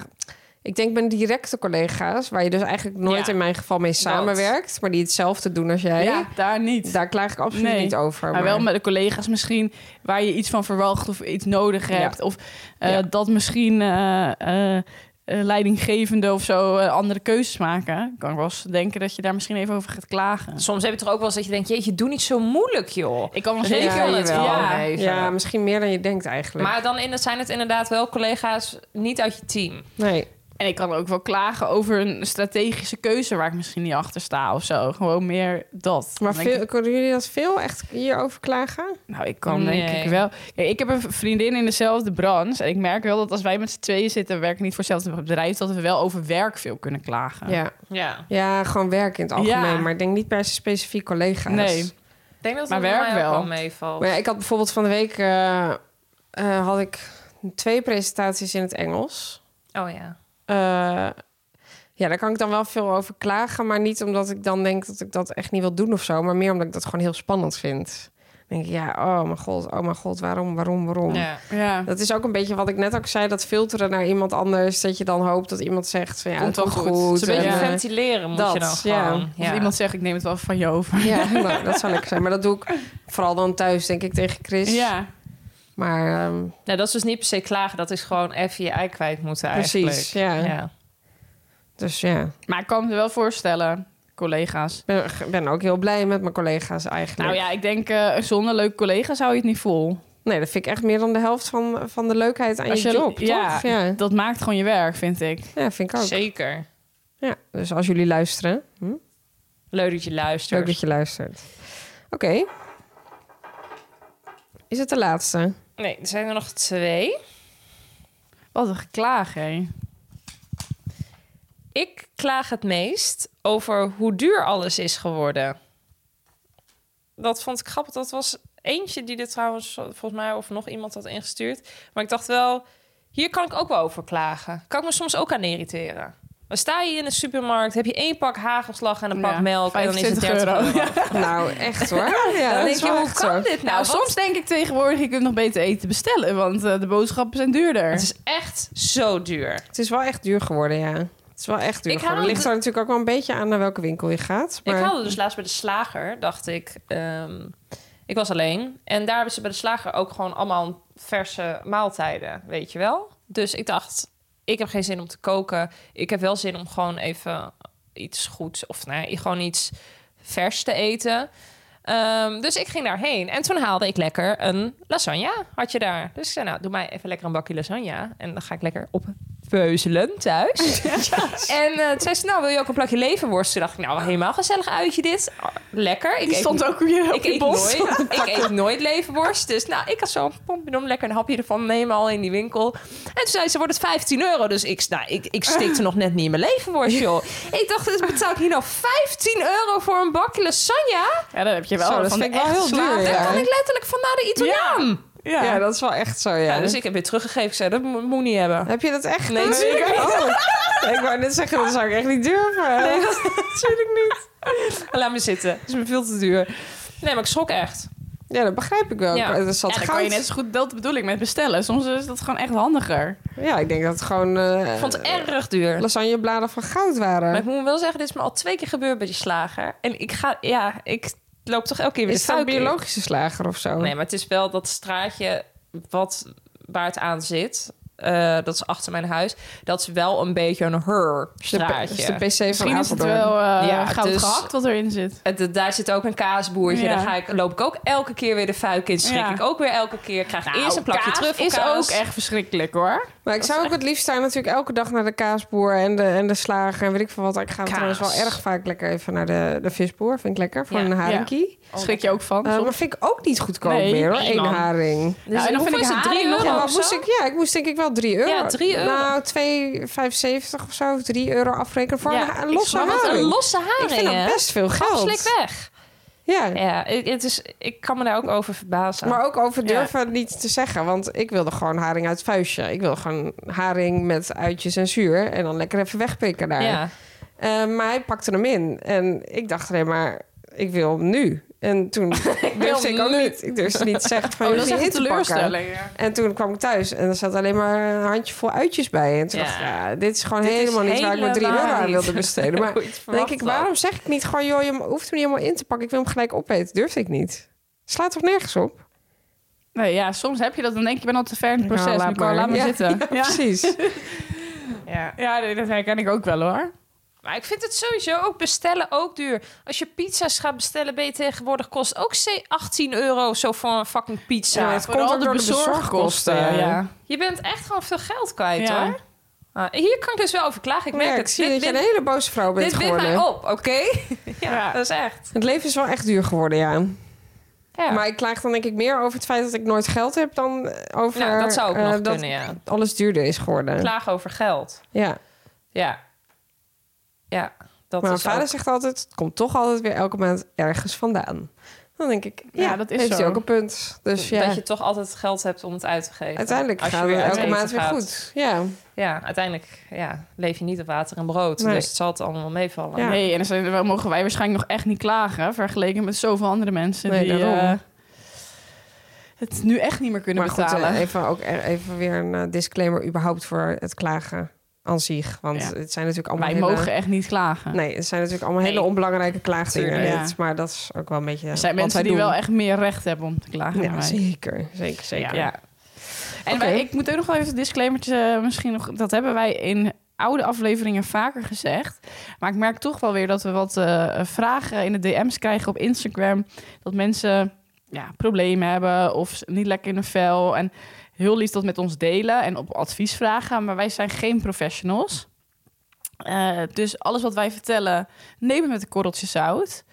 [SPEAKER 7] Ik denk mijn directe collega's, waar je dus eigenlijk nooit
[SPEAKER 5] Ja.
[SPEAKER 7] in mijn geval mee samenwerkt, maar die hetzelfde doen als jij.
[SPEAKER 6] Ja, daar niet.
[SPEAKER 7] Daar klaag ik absoluut
[SPEAKER 6] Nee.
[SPEAKER 7] niet over.
[SPEAKER 6] maar wel met de collega's misschien waar je iets van verwacht of iets nodig
[SPEAKER 7] Ja.
[SPEAKER 6] hebt. Of eh,
[SPEAKER 7] Ja.
[SPEAKER 6] dat misschien eh, eh, eh, leidinggevende of zo eh, andere keuzes maken. Kan ik wel eens denken dat je daar misschien even over gaat klagen.
[SPEAKER 5] Soms heb je toch ook wel eens dat je denkt... jeetje, doe niet zo moeilijk, joh.
[SPEAKER 6] Ik kan wel
[SPEAKER 5] Ja,
[SPEAKER 6] zeker
[SPEAKER 5] jawel.
[SPEAKER 6] wel het
[SPEAKER 5] Ja.
[SPEAKER 6] ja.
[SPEAKER 7] Ja, misschien meer dan je denkt eigenlijk.
[SPEAKER 5] Maar dan in het, zijn het inderdaad wel collega's niet uit je team.
[SPEAKER 7] nee.
[SPEAKER 6] En ik kan ook wel klagen over een strategische keuze waar ik misschien niet achter sta of zo. Gewoon meer dat.
[SPEAKER 7] Maar
[SPEAKER 6] Dan denk
[SPEAKER 7] veel, kunnen jullie dat veel echt hierover klagen?
[SPEAKER 6] Nou, ik kan
[SPEAKER 5] Nee.
[SPEAKER 6] denk ik wel. Kijk, ik heb een vriendin in dezelfde branche. En ik merk wel dat als wij met z'n tweeën zitten, we werken niet voor hetzelfde bedrijf, dat we wel over werk veel kunnen klagen.
[SPEAKER 7] Ja.
[SPEAKER 5] Ja.
[SPEAKER 7] Ja, gewoon werk in het algemeen.
[SPEAKER 6] Ja.
[SPEAKER 7] Maar ik denk niet per se specifiek collega's.
[SPEAKER 6] Nee.
[SPEAKER 5] Ik denk dat
[SPEAKER 6] Maar
[SPEAKER 5] het bij
[SPEAKER 6] werk
[SPEAKER 5] mij ook
[SPEAKER 6] wel.
[SPEAKER 5] wel meevalt.
[SPEAKER 7] Maar ja, ik had bijvoorbeeld van de week... eh, eh, had ik twee presentaties in het Engels.
[SPEAKER 5] Oh ja.
[SPEAKER 7] Eh, ja, daar kan ik dan wel veel over klagen. Maar niet omdat ik dan denk dat ik dat echt niet wil doen of zo. Maar meer omdat ik dat gewoon heel spannend vind. Dan denk ik, ja, oh mijn god, oh mijn god, waarom, waarom, waarom?
[SPEAKER 5] ja.
[SPEAKER 6] Ja.
[SPEAKER 7] Dat is ook een beetje wat ik net ook zei, dat filteren naar iemand anders. Dat je dan hoopt dat iemand zegt, van, ja,
[SPEAKER 6] Komt
[SPEAKER 7] het
[SPEAKER 6] wel
[SPEAKER 7] komt
[SPEAKER 6] goed.
[SPEAKER 7] goed.
[SPEAKER 5] Het is een beetje
[SPEAKER 7] en, eh,
[SPEAKER 5] ventileren moet
[SPEAKER 7] dat,
[SPEAKER 5] je dan
[SPEAKER 7] ja.
[SPEAKER 5] gewoon.
[SPEAKER 6] Als iemand zegt, ik neem het wel van je over.
[SPEAKER 7] Ja, nou, dat zou lekker zijn. Maar dat doe ik vooral dan thuis, denk ik, tegen Chris.
[SPEAKER 6] Ja,
[SPEAKER 7] Maar ehm,
[SPEAKER 5] Nou, dat is dus niet per se klagen. Dat is gewoon even je ei kwijt moeten eigenlijk.
[SPEAKER 7] precies, ja.
[SPEAKER 5] ja.
[SPEAKER 7] Dus ja,
[SPEAKER 6] maar ik kan me wel voorstellen, collega's.
[SPEAKER 7] ik ben, ben ook heel blij met mijn collega's eigenlijk.
[SPEAKER 6] Nou ja, ik denk eh, zonder leuke collega's hou je het niet vol.
[SPEAKER 7] Nee, dat vind ik echt meer dan de helft van, van de leukheid aan
[SPEAKER 6] Als
[SPEAKER 7] je,
[SPEAKER 6] je-
[SPEAKER 7] job,
[SPEAKER 6] ja.
[SPEAKER 7] toch? Ja.
[SPEAKER 6] Dat maakt gewoon je werk, vind ik.
[SPEAKER 7] ja, vind ik ook.
[SPEAKER 5] Zeker.
[SPEAKER 7] Ja, dus als jullie luisteren, hm?
[SPEAKER 5] Leuk dat je luistert.
[SPEAKER 7] leuk dat je luistert. Oké. Is het de laatste?
[SPEAKER 5] Nee, er zijn er nog twee.
[SPEAKER 6] Wat een geklaag, hè?
[SPEAKER 5] Ik klaag het meest over hoe duur alles is geworden. Dat vond ik grappig. Dat was eentje die dit trouwens, volgens mij, of nog iemand had ingestuurd. Maar ik dacht wel, hier kan ik ook wel over klagen. Kan ik me soms ook aan irriteren. Dan sta je in de supermarkt, heb je één pak hagelslag en een pak
[SPEAKER 6] Ja,
[SPEAKER 5] melk... en dan is het
[SPEAKER 6] 25
[SPEAKER 5] 30 euro.
[SPEAKER 6] euro.
[SPEAKER 7] Nou, echt hoor. Ja,
[SPEAKER 5] Dan
[SPEAKER 7] dat
[SPEAKER 5] denk
[SPEAKER 7] is
[SPEAKER 5] je,
[SPEAKER 7] wel
[SPEAKER 5] hoe
[SPEAKER 7] echt
[SPEAKER 5] kan
[SPEAKER 7] zo.
[SPEAKER 5] dit nou?
[SPEAKER 6] Nou,
[SPEAKER 5] Want
[SPEAKER 6] soms denk ik tegenwoordig, je kunt nog beter eten bestellen, want eh, de boodschappen zijn duurder.
[SPEAKER 5] Het is echt zo duur.
[SPEAKER 7] Het is wel echt duur geworden, ja. Het is wel echt duur.
[SPEAKER 5] Ik
[SPEAKER 7] geworden.
[SPEAKER 5] haal
[SPEAKER 7] Het ligt
[SPEAKER 5] de-
[SPEAKER 7] er natuurlijk ook wel een beetje aan naar welke winkel je gaat. Maar...
[SPEAKER 5] Ik haalde dus laatst bij de slager, dacht ik. ehm, ik was alleen. En daar hebben ze bij de slager ook gewoon allemaal verse maaltijden, weet je wel. Dus ik dacht, ik heb geen zin om te koken. Ik heb wel zin om gewoon even iets goeds of nee, gewoon iets vers te eten. Ehm, dus ik ging daarheen en toen haalde ik lekker een lasagne. Had je daar. Dus ik zei, nou, doe mij even lekker een bakje lasagne. En dan ga ik lekker oppeuzelen thuis. En eh, toen zei ze, nou, wil je ook een plakje leverworst? Toen dacht ik, nou, helemaal gezellig uitje dit. Ah, Lekker. Ik
[SPEAKER 6] Die
[SPEAKER 5] eet-
[SPEAKER 6] stond ook weer op
[SPEAKER 5] ik
[SPEAKER 6] die
[SPEAKER 5] eet,
[SPEAKER 6] bos.
[SPEAKER 5] nooit, ik eet nooit leverworst. Dus nou, ik had zo'n pompidom lekker een hapje ervan nemen al in die winkel. En toen zei ze, wordt het 15 euro. Dus ik, nou, ik, ik stikte nog net niet in mijn leverworst, joh. Ik dacht, dus betaal ik hier nou 15 euro voor een bakje lasagne?
[SPEAKER 6] Ja, dan heb je wel
[SPEAKER 7] Zo, dat
[SPEAKER 6] van
[SPEAKER 7] vind
[SPEAKER 6] de
[SPEAKER 7] ik wel
[SPEAKER 6] echt
[SPEAKER 7] heel duur,
[SPEAKER 6] slager.
[SPEAKER 5] Dan
[SPEAKER 7] ja.
[SPEAKER 5] kan ik letterlijk van naar de Italiaan. Ja.
[SPEAKER 6] Ja.
[SPEAKER 7] Ja, dat is wel echt zo, ja.
[SPEAKER 5] dus ik heb weer teruggegeven. Ik zei, dat mo- moet niet hebben.
[SPEAKER 7] Heb je dat echt?
[SPEAKER 5] Nee,
[SPEAKER 7] gedaan?
[SPEAKER 5] tuurlijk
[SPEAKER 7] Oh. Ik wou net zeggen, dat zou ik echt niet durven.
[SPEAKER 5] Nee, dat natuurlijk niet. Laat me zitten. Het is me veel te duur. Nee, maar ik schrok echt.
[SPEAKER 7] Ja, dat begrijp ik wel.
[SPEAKER 5] Ja.
[SPEAKER 7] Er zat
[SPEAKER 6] Ja, dan
[SPEAKER 7] goud.
[SPEAKER 6] kan je net zo goed, dat bedoel ik met bestellen. Soms is dat gewoon echt handiger.
[SPEAKER 7] Ja, ik denk dat het gewoon eh
[SPEAKER 5] Ik vond het erg duur.
[SPEAKER 7] lasagnebladen van goud waren.
[SPEAKER 5] Maar ik moet wel zeggen, dit is me al twee keer gebeurd bij die slager. En ik ga, ja, ik loop toch elke keer weer
[SPEAKER 7] is
[SPEAKER 5] de
[SPEAKER 7] dat een
[SPEAKER 5] fout in.
[SPEAKER 7] biologische slager of zo?
[SPEAKER 5] Nee, maar het is wel dat straatje wat, waar het aan zit. eh, dat is achter mijn huis. Dat is wel een beetje een
[SPEAKER 7] Is de,
[SPEAKER 5] her-straatje.
[SPEAKER 7] is de PC van
[SPEAKER 6] Misschien is het
[SPEAKER 7] Apeldoorn.
[SPEAKER 6] wel eh
[SPEAKER 5] Ja,
[SPEAKER 6] goud
[SPEAKER 5] dus-
[SPEAKER 6] gehakt wat erin zit.
[SPEAKER 5] Het- het- daar zit ook een kaasboertje.
[SPEAKER 6] Ja.
[SPEAKER 5] Daar ga ik, loop ik ook elke keer weer de fuik in. Schrik
[SPEAKER 6] Ja.
[SPEAKER 5] ik ook weer elke keer. Ik
[SPEAKER 7] Nou,
[SPEAKER 5] krijg eerst een plakje
[SPEAKER 6] kaas
[SPEAKER 5] terug.
[SPEAKER 6] is ook echt verschrikkelijk hoor.
[SPEAKER 7] Maar ik zou ook het liefst daar natuurlijk elke dag naar de kaasboer en de, en de slager en weet ik veel wat. Ik ga
[SPEAKER 5] Kaas.
[SPEAKER 7] trouwens wel erg vaak lekker even naar de, de visboer. Vind ik lekker, voor
[SPEAKER 5] Ja.
[SPEAKER 7] een haringkie.
[SPEAKER 6] Oh, Schrik je ook van.
[SPEAKER 7] Eh,
[SPEAKER 6] soms.
[SPEAKER 7] maar vind ik ook niet goedkoop
[SPEAKER 6] Nee,
[SPEAKER 7] meer hoor,
[SPEAKER 5] nee,
[SPEAKER 7] één
[SPEAKER 5] man.
[SPEAKER 7] haring.
[SPEAKER 5] Dus
[SPEAKER 6] Ja, en dan
[SPEAKER 5] hoeveel
[SPEAKER 6] vind ik
[SPEAKER 5] is het?
[SPEAKER 6] haring
[SPEAKER 5] 3 euro
[SPEAKER 7] Ja,
[SPEAKER 5] of
[SPEAKER 7] wat
[SPEAKER 5] zo?
[SPEAKER 7] moest ik? Ja, ik moest denk ik wel 3 euro.
[SPEAKER 5] Ja, 3 euro.
[SPEAKER 7] Nou, 2,75 of zo, 3 euro afrekenen voor
[SPEAKER 5] Ja,
[SPEAKER 7] een, ha- een
[SPEAKER 5] ik
[SPEAKER 7] losse
[SPEAKER 5] snap het.
[SPEAKER 7] haring.
[SPEAKER 5] Een losse haring,
[SPEAKER 7] ik vind
[SPEAKER 5] hè?
[SPEAKER 7] dat best veel
[SPEAKER 5] Gewoon
[SPEAKER 7] geld.
[SPEAKER 5] slik weg.
[SPEAKER 7] Ja.
[SPEAKER 5] Ja, ik- het is, ik kan me daar ook over verbazen.
[SPEAKER 7] Maar ook over durven niet te zeggen. Want ik wilde gewoon haring uit het vuistje. Ik wil gewoon haring met uitjes en zuur. En dan lekker even wegpikken daar.
[SPEAKER 5] ja.
[SPEAKER 7] Eh, maar hij pakte hem in. En ik dacht alleen maar, ik wil hem nu. En toen durfde ik ook niet. Ik durfde niet te zeggen van,
[SPEAKER 6] Oh,
[SPEAKER 7] jullie
[SPEAKER 6] dat is echt
[SPEAKER 7] in
[SPEAKER 6] een
[SPEAKER 7] te pakken.
[SPEAKER 6] teleurstelling. ja.
[SPEAKER 7] En toen kwam ik thuis en er zat alleen maar een handjevol uitjes bij. En toen
[SPEAKER 5] Ja.
[SPEAKER 7] dacht ik, ja, dit is gewoon
[SPEAKER 5] Dit is
[SPEAKER 7] helemaal niet waar ik mijn 3 euro
[SPEAKER 5] helemaal
[SPEAKER 7] aan
[SPEAKER 5] niet.
[SPEAKER 7] wilde besteden. Maar
[SPEAKER 5] Nooit
[SPEAKER 7] dan denk
[SPEAKER 5] verwacht
[SPEAKER 7] ik,
[SPEAKER 5] dat.
[SPEAKER 7] waarom zeg ik niet gewoon, joh, je hoeft hem niet helemaal in te pakken. Ik wil hem gelijk opeten. Durfde ik niet. Slaat toch nergens op?
[SPEAKER 6] Nee, ja, soms heb je dat. Dan denk je, ik ben al te ver in het proces.
[SPEAKER 7] Nou, laat
[SPEAKER 6] nu kan-
[SPEAKER 7] maar.
[SPEAKER 6] laat maar
[SPEAKER 7] Ja,
[SPEAKER 6] zitten. Ja,
[SPEAKER 7] Precies.
[SPEAKER 5] Ja.
[SPEAKER 6] Ja, nee, dat herken ik ook wel hoor.
[SPEAKER 5] Maar ik vind het sowieso ook bestellen ook duur. Als je pizza's gaat bestellen, ben je tegenwoordig kost ook c- 18 euro zo voor een fucking pizza.
[SPEAKER 7] Ja, het komt ook door de bezorgkosten.
[SPEAKER 6] Ja,
[SPEAKER 5] Je bent echt gewoon veel geld kwijt
[SPEAKER 6] Ja.
[SPEAKER 5] hoor. Ah, hier kan ik dus wel over klagen. Ik
[SPEAKER 7] Ik,
[SPEAKER 5] merk
[SPEAKER 7] ja,
[SPEAKER 5] het.
[SPEAKER 7] ik zie
[SPEAKER 5] Dit
[SPEAKER 7] dat je een
[SPEAKER 5] wint-
[SPEAKER 7] hele boze vrouw bent
[SPEAKER 5] dit wint
[SPEAKER 7] geworden.
[SPEAKER 5] mij op, oké? ja,
[SPEAKER 6] Ja.
[SPEAKER 5] dat is echt.
[SPEAKER 7] Het leven is wel echt duur geworden, ja.
[SPEAKER 5] Ja.
[SPEAKER 7] Maar ik klaag dan denk ik meer over het feit dat ik nooit geld heb dan eh, over
[SPEAKER 5] Nou, dat zou ook
[SPEAKER 7] eh,
[SPEAKER 5] nog
[SPEAKER 7] dat
[SPEAKER 5] kunnen, ja.
[SPEAKER 7] alles duurder is geworden.
[SPEAKER 5] Klagen over geld.
[SPEAKER 7] Ja.
[SPEAKER 5] Ja. Ja, dat
[SPEAKER 7] maar mijn
[SPEAKER 5] is
[SPEAKER 7] vader
[SPEAKER 5] ook-
[SPEAKER 7] zegt altijd, het komt toch altijd weer elke maand ergens vandaan. Dan denk ik, ja,
[SPEAKER 6] Ja, dat is
[SPEAKER 7] heeft
[SPEAKER 6] zo.
[SPEAKER 7] hij ook een punt. Dus ja,
[SPEAKER 5] dat je toch altijd geld hebt om het uit te geven.
[SPEAKER 7] uiteindelijk
[SPEAKER 5] Als je
[SPEAKER 7] gaat het
[SPEAKER 5] uit
[SPEAKER 7] elke
[SPEAKER 5] eten
[SPEAKER 7] maand weer
[SPEAKER 5] gaat.
[SPEAKER 7] goed. Ja.
[SPEAKER 5] Ja, uiteindelijk ja, leef je niet op water en brood.
[SPEAKER 7] Nee.
[SPEAKER 5] Dus het zal het allemaal meevallen.
[SPEAKER 7] Ja.
[SPEAKER 6] Nee, en dan zijn- dan mogen wij waarschijnlijk nog echt niet klagen... vergeleken met zoveel andere mensen
[SPEAKER 7] Nee,
[SPEAKER 6] die
[SPEAKER 7] daarom.
[SPEAKER 6] eh, het nu echt niet meer kunnen
[SPEAKER 7] Maar goed,
[SPEAKER 6] betalen.
[SPEAKER 7] eh, even, ook er- even weer een eh, disclaimer überhaupt voor het klagen aan zich. Want
[SPEAKER 6] Ja.
[SPEAKER 7] het zijn natuurlijk allemaal
[SPEAKER 6] wij
[SPEAKER 7] hele-
[SPEAKER 6] mogen echt niet klagen.
[SPEAKER 7] Nee, het zijn natuurlijk allemaal hele
[SPEAKER 5] Nee.
[SPEAKER 7] onbelangrijke klaagdingen.
[SPEAKER 5] Tuurlijk,
[SPEAKER 6] ja.
[SPEAKER 7] dit, Maar dat is ook wel een beetje
[SPEAKER 6] Er zijn
[SPEAKER 7] wat
[SPEAKER 6] mensen
[SPEAKER 7] wij
[SPEAKER 6] die
[SPEAKER 7] doen.
[SPEAKER 6] wel echt meer recht hebben om te klagen dan
[SPEAKER 7] Ja,
[SPEAKER 6] wij.
[SPEAKER 7] zeker. Zeker, zeker.
[SPEAKER 5] Ja.
[SPEAKER 6] En
[SPEAKER 7] Oké.
[SPEAKER 6] wij- ik moet ook nog wel even een disclaimertje, eh, misschien nog, dat hebben wij in oude afleveringen vaker gezegd. Maar ik merk toch wel weer dat we wat eh, vragen in de DM's krijgen op Instagram. Dat mensen ja, problemen hebben of s- niet lekker in hun vel. En heel lief dat met ons delen en op advies vragen. Maar wij zijn geen professionals. Eh, dus alles wat wij vertellen, neem het met een korreltje zout.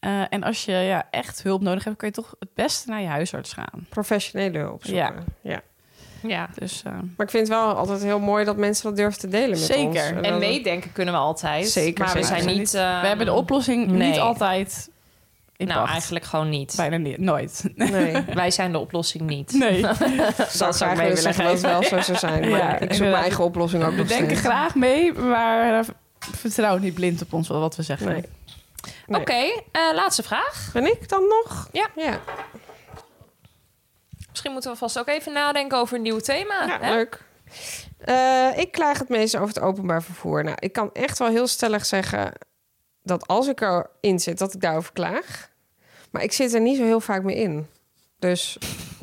[SPEAKER 6] Eh, en als je ja, echt hulp nodig hebt, kun je toch het beste naar je huisarts gaan.
[SPEAKER 7] Professionele hulp zoeken. Ja.
[SPEAKER 5] Ja.
[SPEAKER 6] Dus eh,
[SPEAKER 7] Maar ik vind het wel altijd heel mooi dat mensen dat durven te delen met
[SPEAKER 6] Zeker.
[SPEAKER 7] ons.
[SPEAKER 6] En
[SPEAKER 5] En
[SPEAKER 7] dat-
[SPEAKER 5] meedenken kunnen we altijd.
[SPEAKER 7] Zeker,
[SPEAKER 5] Maar we
[SPEAKER 7] zeker.
[SPEAKER 5] zijn niet... eh,
[SPEAKER 6] We
[SPEAKER 7] Ehm,
[SPEAKER 6] hebben de oplossing niet
[SPEAKER 5] nee.
[SPEAKER 6] altijd in
[SPEAKER 5] Nou,
[SPEAKER 6] pacht.
[SPEAKER 5] eigenlijk gewoon niet.
[SPEAKER 6] bijna niet, nooit.
[SPEAKER 7] Nee,
[SPEAKER 5] Wij zijn de oplossing niet.
[SPEAKER 6] Nee.
[SPEAKER 7] dat zou
[SPEAKER 6] zou
[SPEAKER 7] ik
[SPEAKER 6] ik
[SPEAKER 7] mee
[SPEAKER 6] mee
[SPEAKER 7] willen zeggen dat het
[SPEAKER 6] willen
[SPEAKER 7] wel zo zou zijn. Maar
[SPEAKER 6] Ja,
[SPEAKER 7] ik zoek mijn
[SPEAKER 6] inderdaad.
[SPEAKER 7] eigen oplossing ook
[SPEAKER 6] We
[SPEAKER 7] nog
[SPEAKER 6] denken
[SPEAKER 7] steeds.
[SPEAKER 6] graag mee, maar eh, vertrouw niet blind op ons wat we zeggen.
[SPEAKER 7] Nee. Nee.
[SPEAKER 5] Oké, eh, laatste vraag.
[SPEAKER 7] Ben ik dan nog?
[SPEAKER 5] Ja.
[SPEAKER 7] Ja,
[SPEAKER 5] Misschien moeten we vast ook even nadenken over een nieuw thema.
[SPEAKER 7] Ja,
[SPEAKER 5] Ah, hè?
[SPEAKER 7] leuk. Eh, ik klaag het meest over het openbaar vervoer. Nou, ik kan echt wel heel stellig zeggen dat als ik erin zit, dat ik daarover klaag. Maar ik zit er niet zo heel vaak meer in. Dus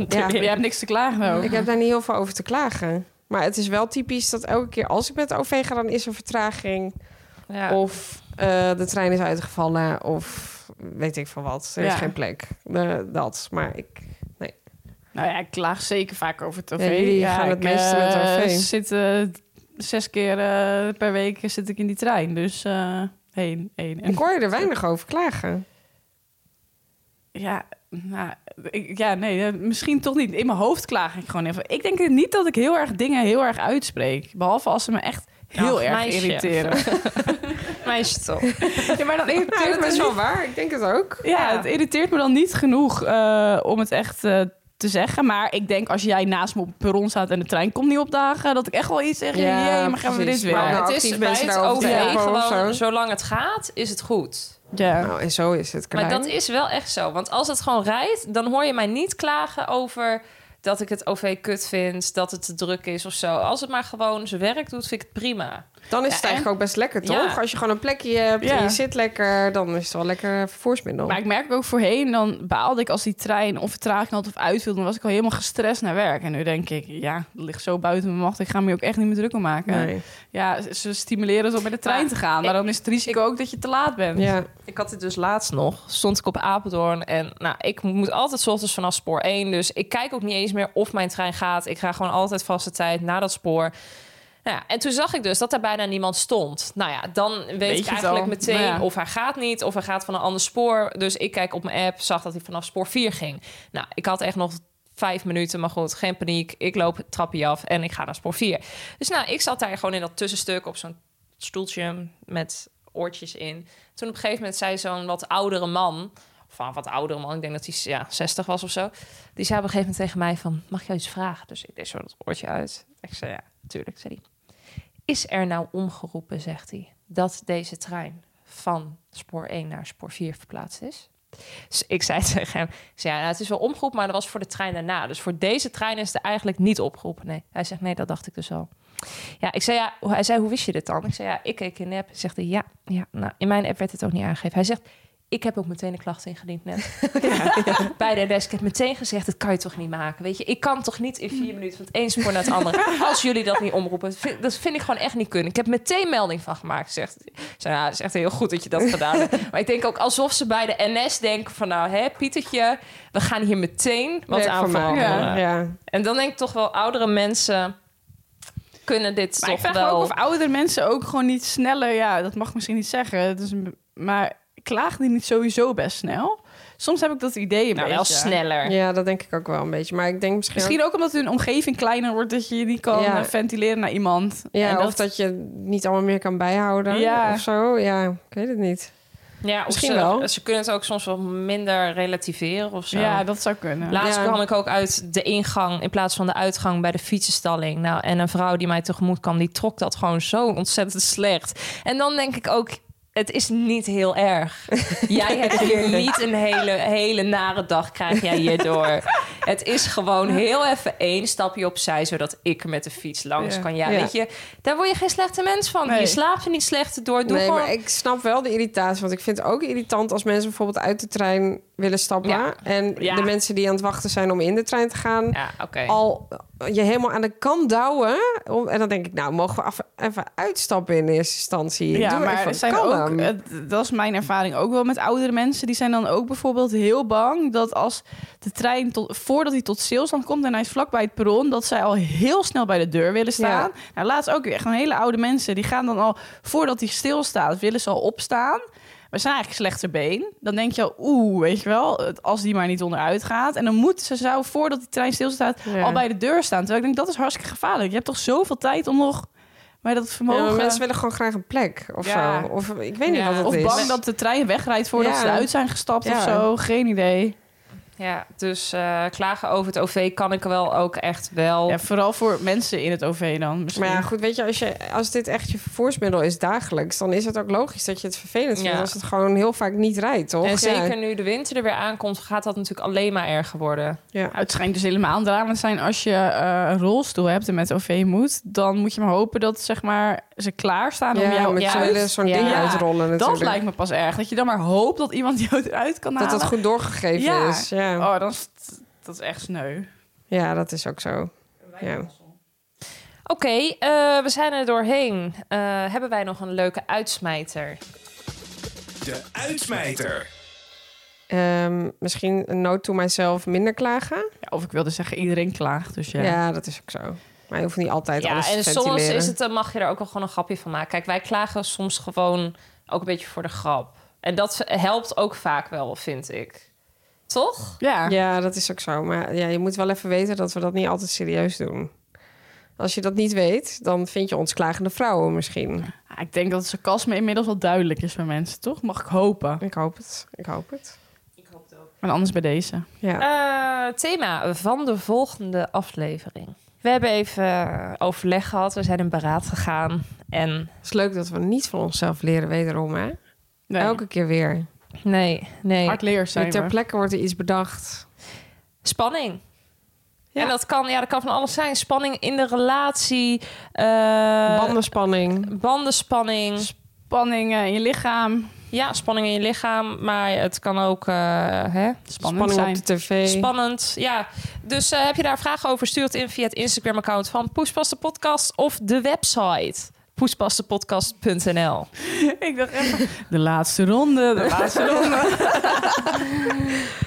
[SPEAKER 7] ja,
[SPEAKER 6] Je hebt niks te klagen nou. over.
[SPEAKER 7] ik heb daar niet heel veel over te klagen. Maar het is wel typisch dat elke keer als ik met de OV ga, dan is er vertraging.
[SPEAKER 5] Ja.
[SPEAKER 7] Of eh, de trein is uitgevallen. Of weet ik van wat. Er is
[SPEAKER 6] Ja.
[SPEAKER 7] geen plek. Eh, dat. Maar ik.
[SPEAKER 6] Nou ja, ik klaag zeker vaak over het OV.
[SPEAKER 7] Ja, jullie gaan
[SPEAKER 6] ik,
[SPEAKER 7] het meeste met
[SPEAKER 6] eh,
[SPEAKER 7] OV.
[SPEAKER 6] Zit, eh, zes keer eh, per week zit ik in die trein. Dus eh heen, heen. En,
[SPEAKER 7] Ik hoor je er weinig over klagen.
[SPEAKER 6] ja, nou, ik- ja, nee, eh, misschien toch niet. In mijn hoofd klaag ik gewoon even. Ik denk niet dat ik heel erg dingen heel erg uitspreek. Behalve als ze me echt heel
[SPEAKER 5] Ach,
[SPEAKER 6] erg
[SPEAKER 5] meisje.
[SPEAKER 6] irriteren.
[SPEAKER 5] Meisje toch.
[SPEAKER 6] ja, maar dan irriteert
[SPEAKER 7] Nou,
[SPEAKER 6] me
[SPEAKER 7] dat is
[SPEAKER 6] niet-
[SPEAKER 7] wel waar. Ik denk het ook.
[SPEAKER 6] Ja,
[SPEAKER 5] Ja.
[SPEAKER 6] het irriteert me dan niet genoeg eh, om het echt eh, te zeggen. Maar ik denk als jij naast me op het perron staat en de trein komt niet opdagen... dat ik echt wel iets zeg,
[SPEAKER 7] Ja,
[SPEAKER 6] jee, maar gaan we
[SPEAKER 7] precies.
[SPEAKER 6] dit weer?
[SPEAKER 7] Maar
[SPEAKER 5] Maar
[SPEAKER 7] nou,
[SPEAKER 5] het
[SPEAKER 7] actief
[SPEAKER 5] is bij
[SPEAKER 7] mensen
[SPEAKER 5] het
[SPEAKER 7] daarover
[SPEAKER 5] OV
[SPEAKER 7] te helpen of zo.
[SPEAKER 5] gewoon, zolang het gaat, is het goed.
[SPEAKER 6] Ja.
[SPEAKER 7] Nou, en zo is het.
[SPEAKER 5] Maar
[SPEAKER 7] Carlijn.
[SPEAKER 5] dat is wel echt zo. Want als het gewoon rijdt, dan hoor je mij niet klagen over dat ik het OV kut vind, dat het te druk is of zo. Als het maar gewoon zijn werk doet, vind ik het prima.
[SPEAKER 7] Dan is het
[SPEAKER 5] Ja,
[SPEAKER 7] eigenlijk ook best lekker, toch?
[SPEAKER 5] Ja.
[SPEAKER 7] Als je gewoon een plekje hebt
[SPEAKER 6] Ja.
[SPEAKER 7] en je zit lekker, dan is het wel lekker vervoersmiddel.
[SPEAKER 6] Maar ik merk ook voorheen, dan baalde ik als die trein of vertraging had of uitviel... dan was ik al helemaal gestrest naar werk. En nu denk ik, ja, dat ligt zo buiten mijn macht. Ik ga me hier ook echt niet meer druk om maken.
[SPEAKER 7] nee.
[SPEAKER 6] Ja, ze- ze stimuleren het om met de trein
[SPEAKER 5] Maar
[SPEAKER 6] te gaan. Maar dan is het risico ook dat je te laat bent.
[SPEAKER 7] Ja.
[SPEAKER 5] Ik had dit dus laatst nog. Stond ik op Apeldoorn en nou, ik moet altijd 's ochtends vanaf spoor 1. Dus ik kijk ook niet eens meer of mijn trein gaat. Ik ga gewoon altijd vaste tijd naar dat spoor. Nou ja, en toen zag ik dus dat daar bijna niemand stond. Nou ja, dan weet,
[SPEAKER 6] je
[SPEAKER 5] ik
[SPEAKER 6] het
[SPEAKER 5] eigenlijk
[SPEAKER 6] al.
[SPEAKER 5] meteen
[SPEAKER 6] Nou ja.
[SPEAKER 5] of hij gaat niet, of hij gaat van een ander spoor. Dus ik kijk op mijn app, zag dat hij vanaf spoor 4 ging. Nou, ik had echt nog vijf minuten, maar goed, geen paniek. Ik loop het trapje af en ik ga naar spoor 4. Dus nou, ik zat daar gewoon in dat tussenstuk op zo'n stoeltje met oortjes in. Toen op een gegeven moment zei zo'n wat oudere man, of een wat oudere man, ik denk dat hij ja, 60 was of zo. Die zei op een gegeven moment tegen mij van, mag jij iets vragen? Dus ik deed zo dat oortje uit. Ik zei, ja, natuurlijk, zei hij. Is er nou omgeroepen, zegt hij, dat deze trein van spoor 1 naar spoor 4 verplaatst is? Dus ik zei tegen hem, ik zei, ja, nou, het is wel omgeroepen, maar dat was voor de trein daarna. Dus voor deze trein is het eigenlijk niet opgeroepen. Nee, hij zegt, nee, dat dacht ik dus al. Ja, ik zei, ja, hij zei, hoe wist je dit dan? Ik zei, ja, ik keek in de app. Zegt hij, ja, ja, nou, in mijn app werd het ook niet aangegeven. Hij zegt, ik heb ook meteen een klacht ingediend net. Bij de desk. Ik heb meteen gezegd, dat kan je toch niet maken? Weet je, ik kan toch niet in vier minuten van het een spoor naar het andere. Als jullie dat niet omroepen. Dat vind, dat vind ik gewoon echt niet kunnen. Ik heb meteen melding van gemaakt. Zegt, Ik zei, nou, het is echt heel goed dat je dat gedaan hebt. Maar ik denk ook alsof ze bij de NS denken van, nou, hè, Pietertje, we gaan hier meteen wat
[SPEAKER 7] Werk
[SPEAKER 5] aan
[SPEAKER 7] van maken.
[SPEAKER 5] veranderen.
[SPEAKER 7] Ja. ja.
[SPEAKER 5] En dan denk ik toch wel, oudere mensen kunnen dit
[SPEAKER 6] Maar ik
[SPEAKER 5] toch
[SPEAKER 6] vraag me
[SPEAKER 5] wel...
[SPEAKER 6] ook of oudere mensen ook gewoon niet sneller... Ja, dat mag ik misschien niet zeggen. het is een- maar klagen die niet sowieso best snel? Soms heb ik dat idee een
[SPEAKER 5] nou, wel
[SPEAKER 6] beetje.
[SPEAKER 5] sneller.
[SPEAKER 7] Ja, dat denk ik ook wel een beetje. Maar ik denk misschien...
[SPEAKER 6] Misschien ook omdat hun omgeving kleiner wordt... dat je je niet kan
[SPEAKER 7] Ja.
[SPEAKER 6] eh, ventileren naar iemand.
[SPEAKER 7] ook- ja,
[SPEAKER 6] En
[SPEAKER 7] of dat je niet allemaal meer kan bijhouden
[SPEAKER 6] Ja.
[SPEAKER 7] of zo. Ja, ik weet het niet.
[SPEAKER 5] Ja, of
[SPEAKER 7] Misschien
[SPEAKER 5] ze,
[SPEAKER 7] wel.
[SPEAKER 5] Ze kunnen het ook soms wel minder relativeren of zo.
[SPEAKER 6] Ja, dat zou kunnen.
[SPEAKER 5] Laatst
[SPEAKER 7] Ja.
[SPEAKER 5] kwam ik ook uit de ingang in plaats van de uitgang bij de fietsenstalling. Nou, en een vrouw die mij tegemoet kwam, die trok dat gewoon zo ontzettend slecht. En dan denk ik ook, het is niet heel erg. Jij hebt hier niet een hele, hele nare dag, krijg jij hierdoor. Het is gewoon heel even één stapje opzij, zodat ik met de fiets langs
[SPEAKER 6] Ja.
[SPEAKER 5] kan. Ja,
[SPEAKER 7] Ja.
[SPEAKER 5] weet je, daar word je geen slechte mens van.
[SPEAKER 6] Nee.
[SPEAKER 5] Je slaapt er niet slechter door. Doe
[SPEAKER 7] nee,
[SPEAKER 5] gewoon...
[SPEAKER 7] maar ik snap wel de irritatie. Want ik vind het ook irritant als mensen bijvoorbeeld uit de trein willen stappen.
[SPEAKER 5] Ja.
[SPEAKER 7] En
[SPEAKER 5] Ja.
[SPEAKER 7] de mensen die aan het wachten zijn om in de trein te gaan...
[SPEAKER 5] Ja, oké.
[SPEAKER 7] al je helemaal aan de kant douwen. om- En dan denk ik, nou, mogen we af- even uitstappen in eerste instantie.
[SPEAKER 6] Ja,
[SPEAKER 7] Doe
[SPEAKER 6] maar
[SPEAKER 7] even
[SPEAKER 6] er zijn
[SPEAKER 7] kalm.
[SPEAKER 6] ook, het- dat is mijn ervaring ook wel met oudere mensen. Die zijn dan ook bijvoorbeeld heel bang dat als de trein tot, voordat hij tot stilstand komt en hij is vlakbij het perron, dat zij al heel snel bij de deur willen staan. Nou, laatst ook weer echt een hele oude mensen. Die gaan dan al voordat hij stilstaat, willen ze al opstaan. Maar ze zijn eigenlijk slechter been. Dan denk je al, oeh, weet je wel, het- als die maar niet onderuit gaat. En dan moet ze zou voordat die trein stilstaat
[SPEAKER 7] Ja.
[SPEAKER 6] al bij de deur staan. Terwijl ik denk, dat is hartstikke gevaarlijk. Je hebt toch zoveel tijd om nog bij dat
[SPEAKER 7] Ja, maar
[SPEAKER 6] vermogen...
[SPEAKER 7] mensen willen gewoon graag een plek of
[SPEAKER 6] Ja.
[SPEAKER 7] zo. Of ik weet niet
[SPEAKER 5] Ja,
[SPEAKER 7] wat het
[SPEAKER 6] Of
[SPEAKER 7] is.
[SPEAKER 6] bang dat de trein wegrijdt voordat
[SPEAKER 7] Ja.
[SPEAKER 6] ze eruit zijn gestapt
[SPEAKER 7] Ja.
[SPEAKER 6] of zo. Geen idee.
[SPEAKER 5] Ja, dus eh, klagen over het OV kan ik wel ook echt wel.
[SPEAKER 6] Ja, vooral voor mensen in het OV dan. Misschien.
[SPEAKER 7] Maar ja, goed, weet je als, je, als dit echt je vervoersmiddel is dagelijks, dan is het ook logisch dat je het vervelend vindt
[SPEAKER 5] Ja.
[SPEAKER 7] als het gewoon heel vaak niet rijdt, toch?
[SPEAKER 5] en zeker
[SPEAKER 7] Ja.
[SPEAKER 5] nu de winter er weer aankomt, gaat dat natuurlijk alleen maar erger worden.
[SPEAKER 7] Ja.
[SPEAKER 6] Het schijnt dus helemaal drama te zijn als je eh, een rolstoel hebt en met OV moet. Dan moet je maar hopen dat zeg maar, ze klaarstaan om
[SPEAKER 7] Ja,
[SPEAKER 6] jou
[SPEAKER 7] met
[SPEAKER 5] ja.
[SPEAKER 7] zo'n hele- zo'n
[SPEAKER 5] Ja.
[SPEAKER 7] ding
[SPEAKER 5] Ja,
[SPEAKER 7] uitrollen natuurlijk.
[SPEAKER 6] Dat lijkt me pas erg. Dat je dan maar hoopt dat iemand jou eruit kan
[SPEAKER 7] dat
[SPEAKER 6] halen.
[SPEAKER 7] dat goed doorgegeven
[SPEAKER 6] Ja.
[SPEAKER 7] is. Ja.
[SPEAKER 6] Oh, dat is, dat is echt sneu.
[SPEAKER 7] ja, dat is ook zo. Ja.
[SPEAKER 5] Oké, eh, we zijn er doorheen. Eh, hebben wij nog een leuke uitsmijter?
[SPEAKER 3] De uitsmijter.
[SPEAKER 7] Ehm, misschien een note to myself minder klagen.
[SPEAKER 6] Ja, of ik wilde zeggen, iedereen klaagt. Dus ja.
[SPEAKER 7] Ja. dat is ook zo. Maar je hoeft niet altijd
[SPEAKER 5] Ja,
[SPEAKER 7] alles te
[SPEAKER 5] en soms
[SPEAKER 7] ventileren.
[SPEAKER 5] is het, dan mag je er ook wel gewoon een grapje van maken. Kijk, wij klagen soms gewoon ook een beetje voor de grap. En dat helpt ook vaak wel, vind ik. Toch?
[SPEAKER 6] Ja.
[SPEAKER 7] Ja, dat is ook zo. Maar ja, je moet wel even weten dat we dat niet altijd serieus doen. Als je dat niet weet, dan vind je ons klagende vrouwen misschien.
[SPEAKER 6] Ah, Ik denk dat het sarcasme inmiddels wel duidelijk is bij mensen, toch? Mag ik hopen.
[SPEAKER 7] Ik hoop het. Ik hoop het.
[SPEAKER 6] Maar anders bij deze.
[SPEAKER 7] Ja.
[SPEAKER 5] Eh, thema van de volgende aflevering. We hebben even eh, overleg gehad. We zijn in beraad gegaan. En
[SPEAKER 7] Het is leuk dat we niet van onszelf leren wederom, hè?
[SPEAKER 6] Nee,
[SPEAKER 7] Elke keer weer.
[SPEAKER 5] nee, nee.
[SPEAKER 6] hardleers zijn
[SPEAKER 7] Ter
[SPEAKER 6] we.
[SPEAKER 7] plekke wordt er iets bedacht.
[SPEAKER 5] Spanning.
[SPEAKER 7] Ja.
[SPEAKER 5] En dat kan, ja, dat kan van alles zijn. Spanning in de relatie. eh,
[SPEAKER 7] Bandenspanning.
[SPEAKER 5] bandenspanning.
[SPEAKER 6] Spanning eh, in je lichaam.
[SPEAKER 5] Ja, spanning in je lichaam. Maar het kan ook eh, hè,
[SPEAKER 6] Spannend
[SPEAKER 7] Spanning
[SPEAKER 6] zijn.
[SPEAKER 7] op de tv.
[SPEAKER 5] Spannend, ja. Dus eh, heb je daar vragen over, stuur het in via het Instagram-account van Poespas de Podcast of de website poespasdepodcast.nl.
[SPEAKER 6] ik dacht even... De laatste ronde, de laatste ronde.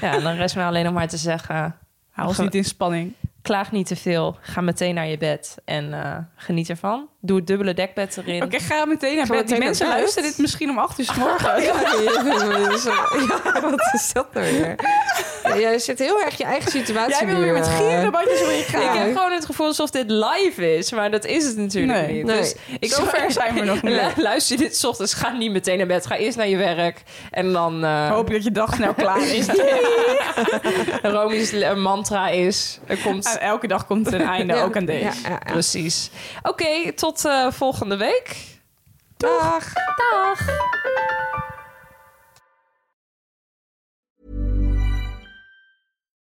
[SPEAKER 5] Ja, en dan rest mij alleen nog maar te zeggen,
[SPEAKER 6] Hou ons niet in spanning.
[SPEAKER 5] klaag niet te veel, ga meteen naar je bed en eh, geniet ervan. Doe het dubbele dekbed erin.
[SPEAKER 6] Oké, ga meteen naar
[SPEAKER 7] Gaan we
[SPEAKER 6] bed.
[SPEAKER 7] meteen
[SPEAKER 6] Die mensen
[SPEAKER 7] naar bed?
[SPEAKER 6] luisteren dit misschien om acht uur 's morgen.
[SPEAKER 7] ja, wat is dat nou weer? Jij zit heel erg je eigen situatie
[SPEAKER 6] Jij wil weer met
[SPEAKER 7] nu, eh,
[SPEAKER 6] gierende bandjes wil je
[SPEAKER 5] Ik
[SPEAKER 6] gaan.
[SPEAKER 5] heb gewoon het gevoel alsof dit live is, maar dat is het natuurlijk
[SPEAKER 6] Nee,
[SPEAKER 5] niet.
[SPEAKER 7] nee.
[SPEAKER 5] Dus ik
[SPEAKER 6] Zo ver zijn we nog niet.
[SPEAKER 5] Lu- Luister je dit 's ochtends, ga niet meteen naar bed. Ga eerst naar je werk en dan... eh,
[SPEAKER 6] Hoop dat je dag snel klaar is.
[SPEAKER 5] Romi's le- mantra is. Er komt.
[SPEAKER 6] Aan elke dag komt er een einde, ook aan deze.
[SPEAKER 7] Ja, ja, ja.
[SPEAKER 5] Precies. Oké, tot eh, volgende week.
[SPEAKER 7] Dag.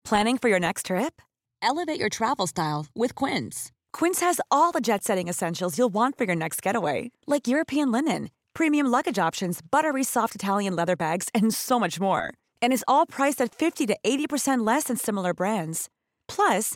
[SPEAKER 8] Planning for your next trip? Elevate your travel style with Quince. Quince has all the jet setting essentials you'll want for your next getaway, like European linen, premium luggage options, buttery soft Italian leather bags, and so much more. And is all priced at 50 to 80% less than similar brands. Plus,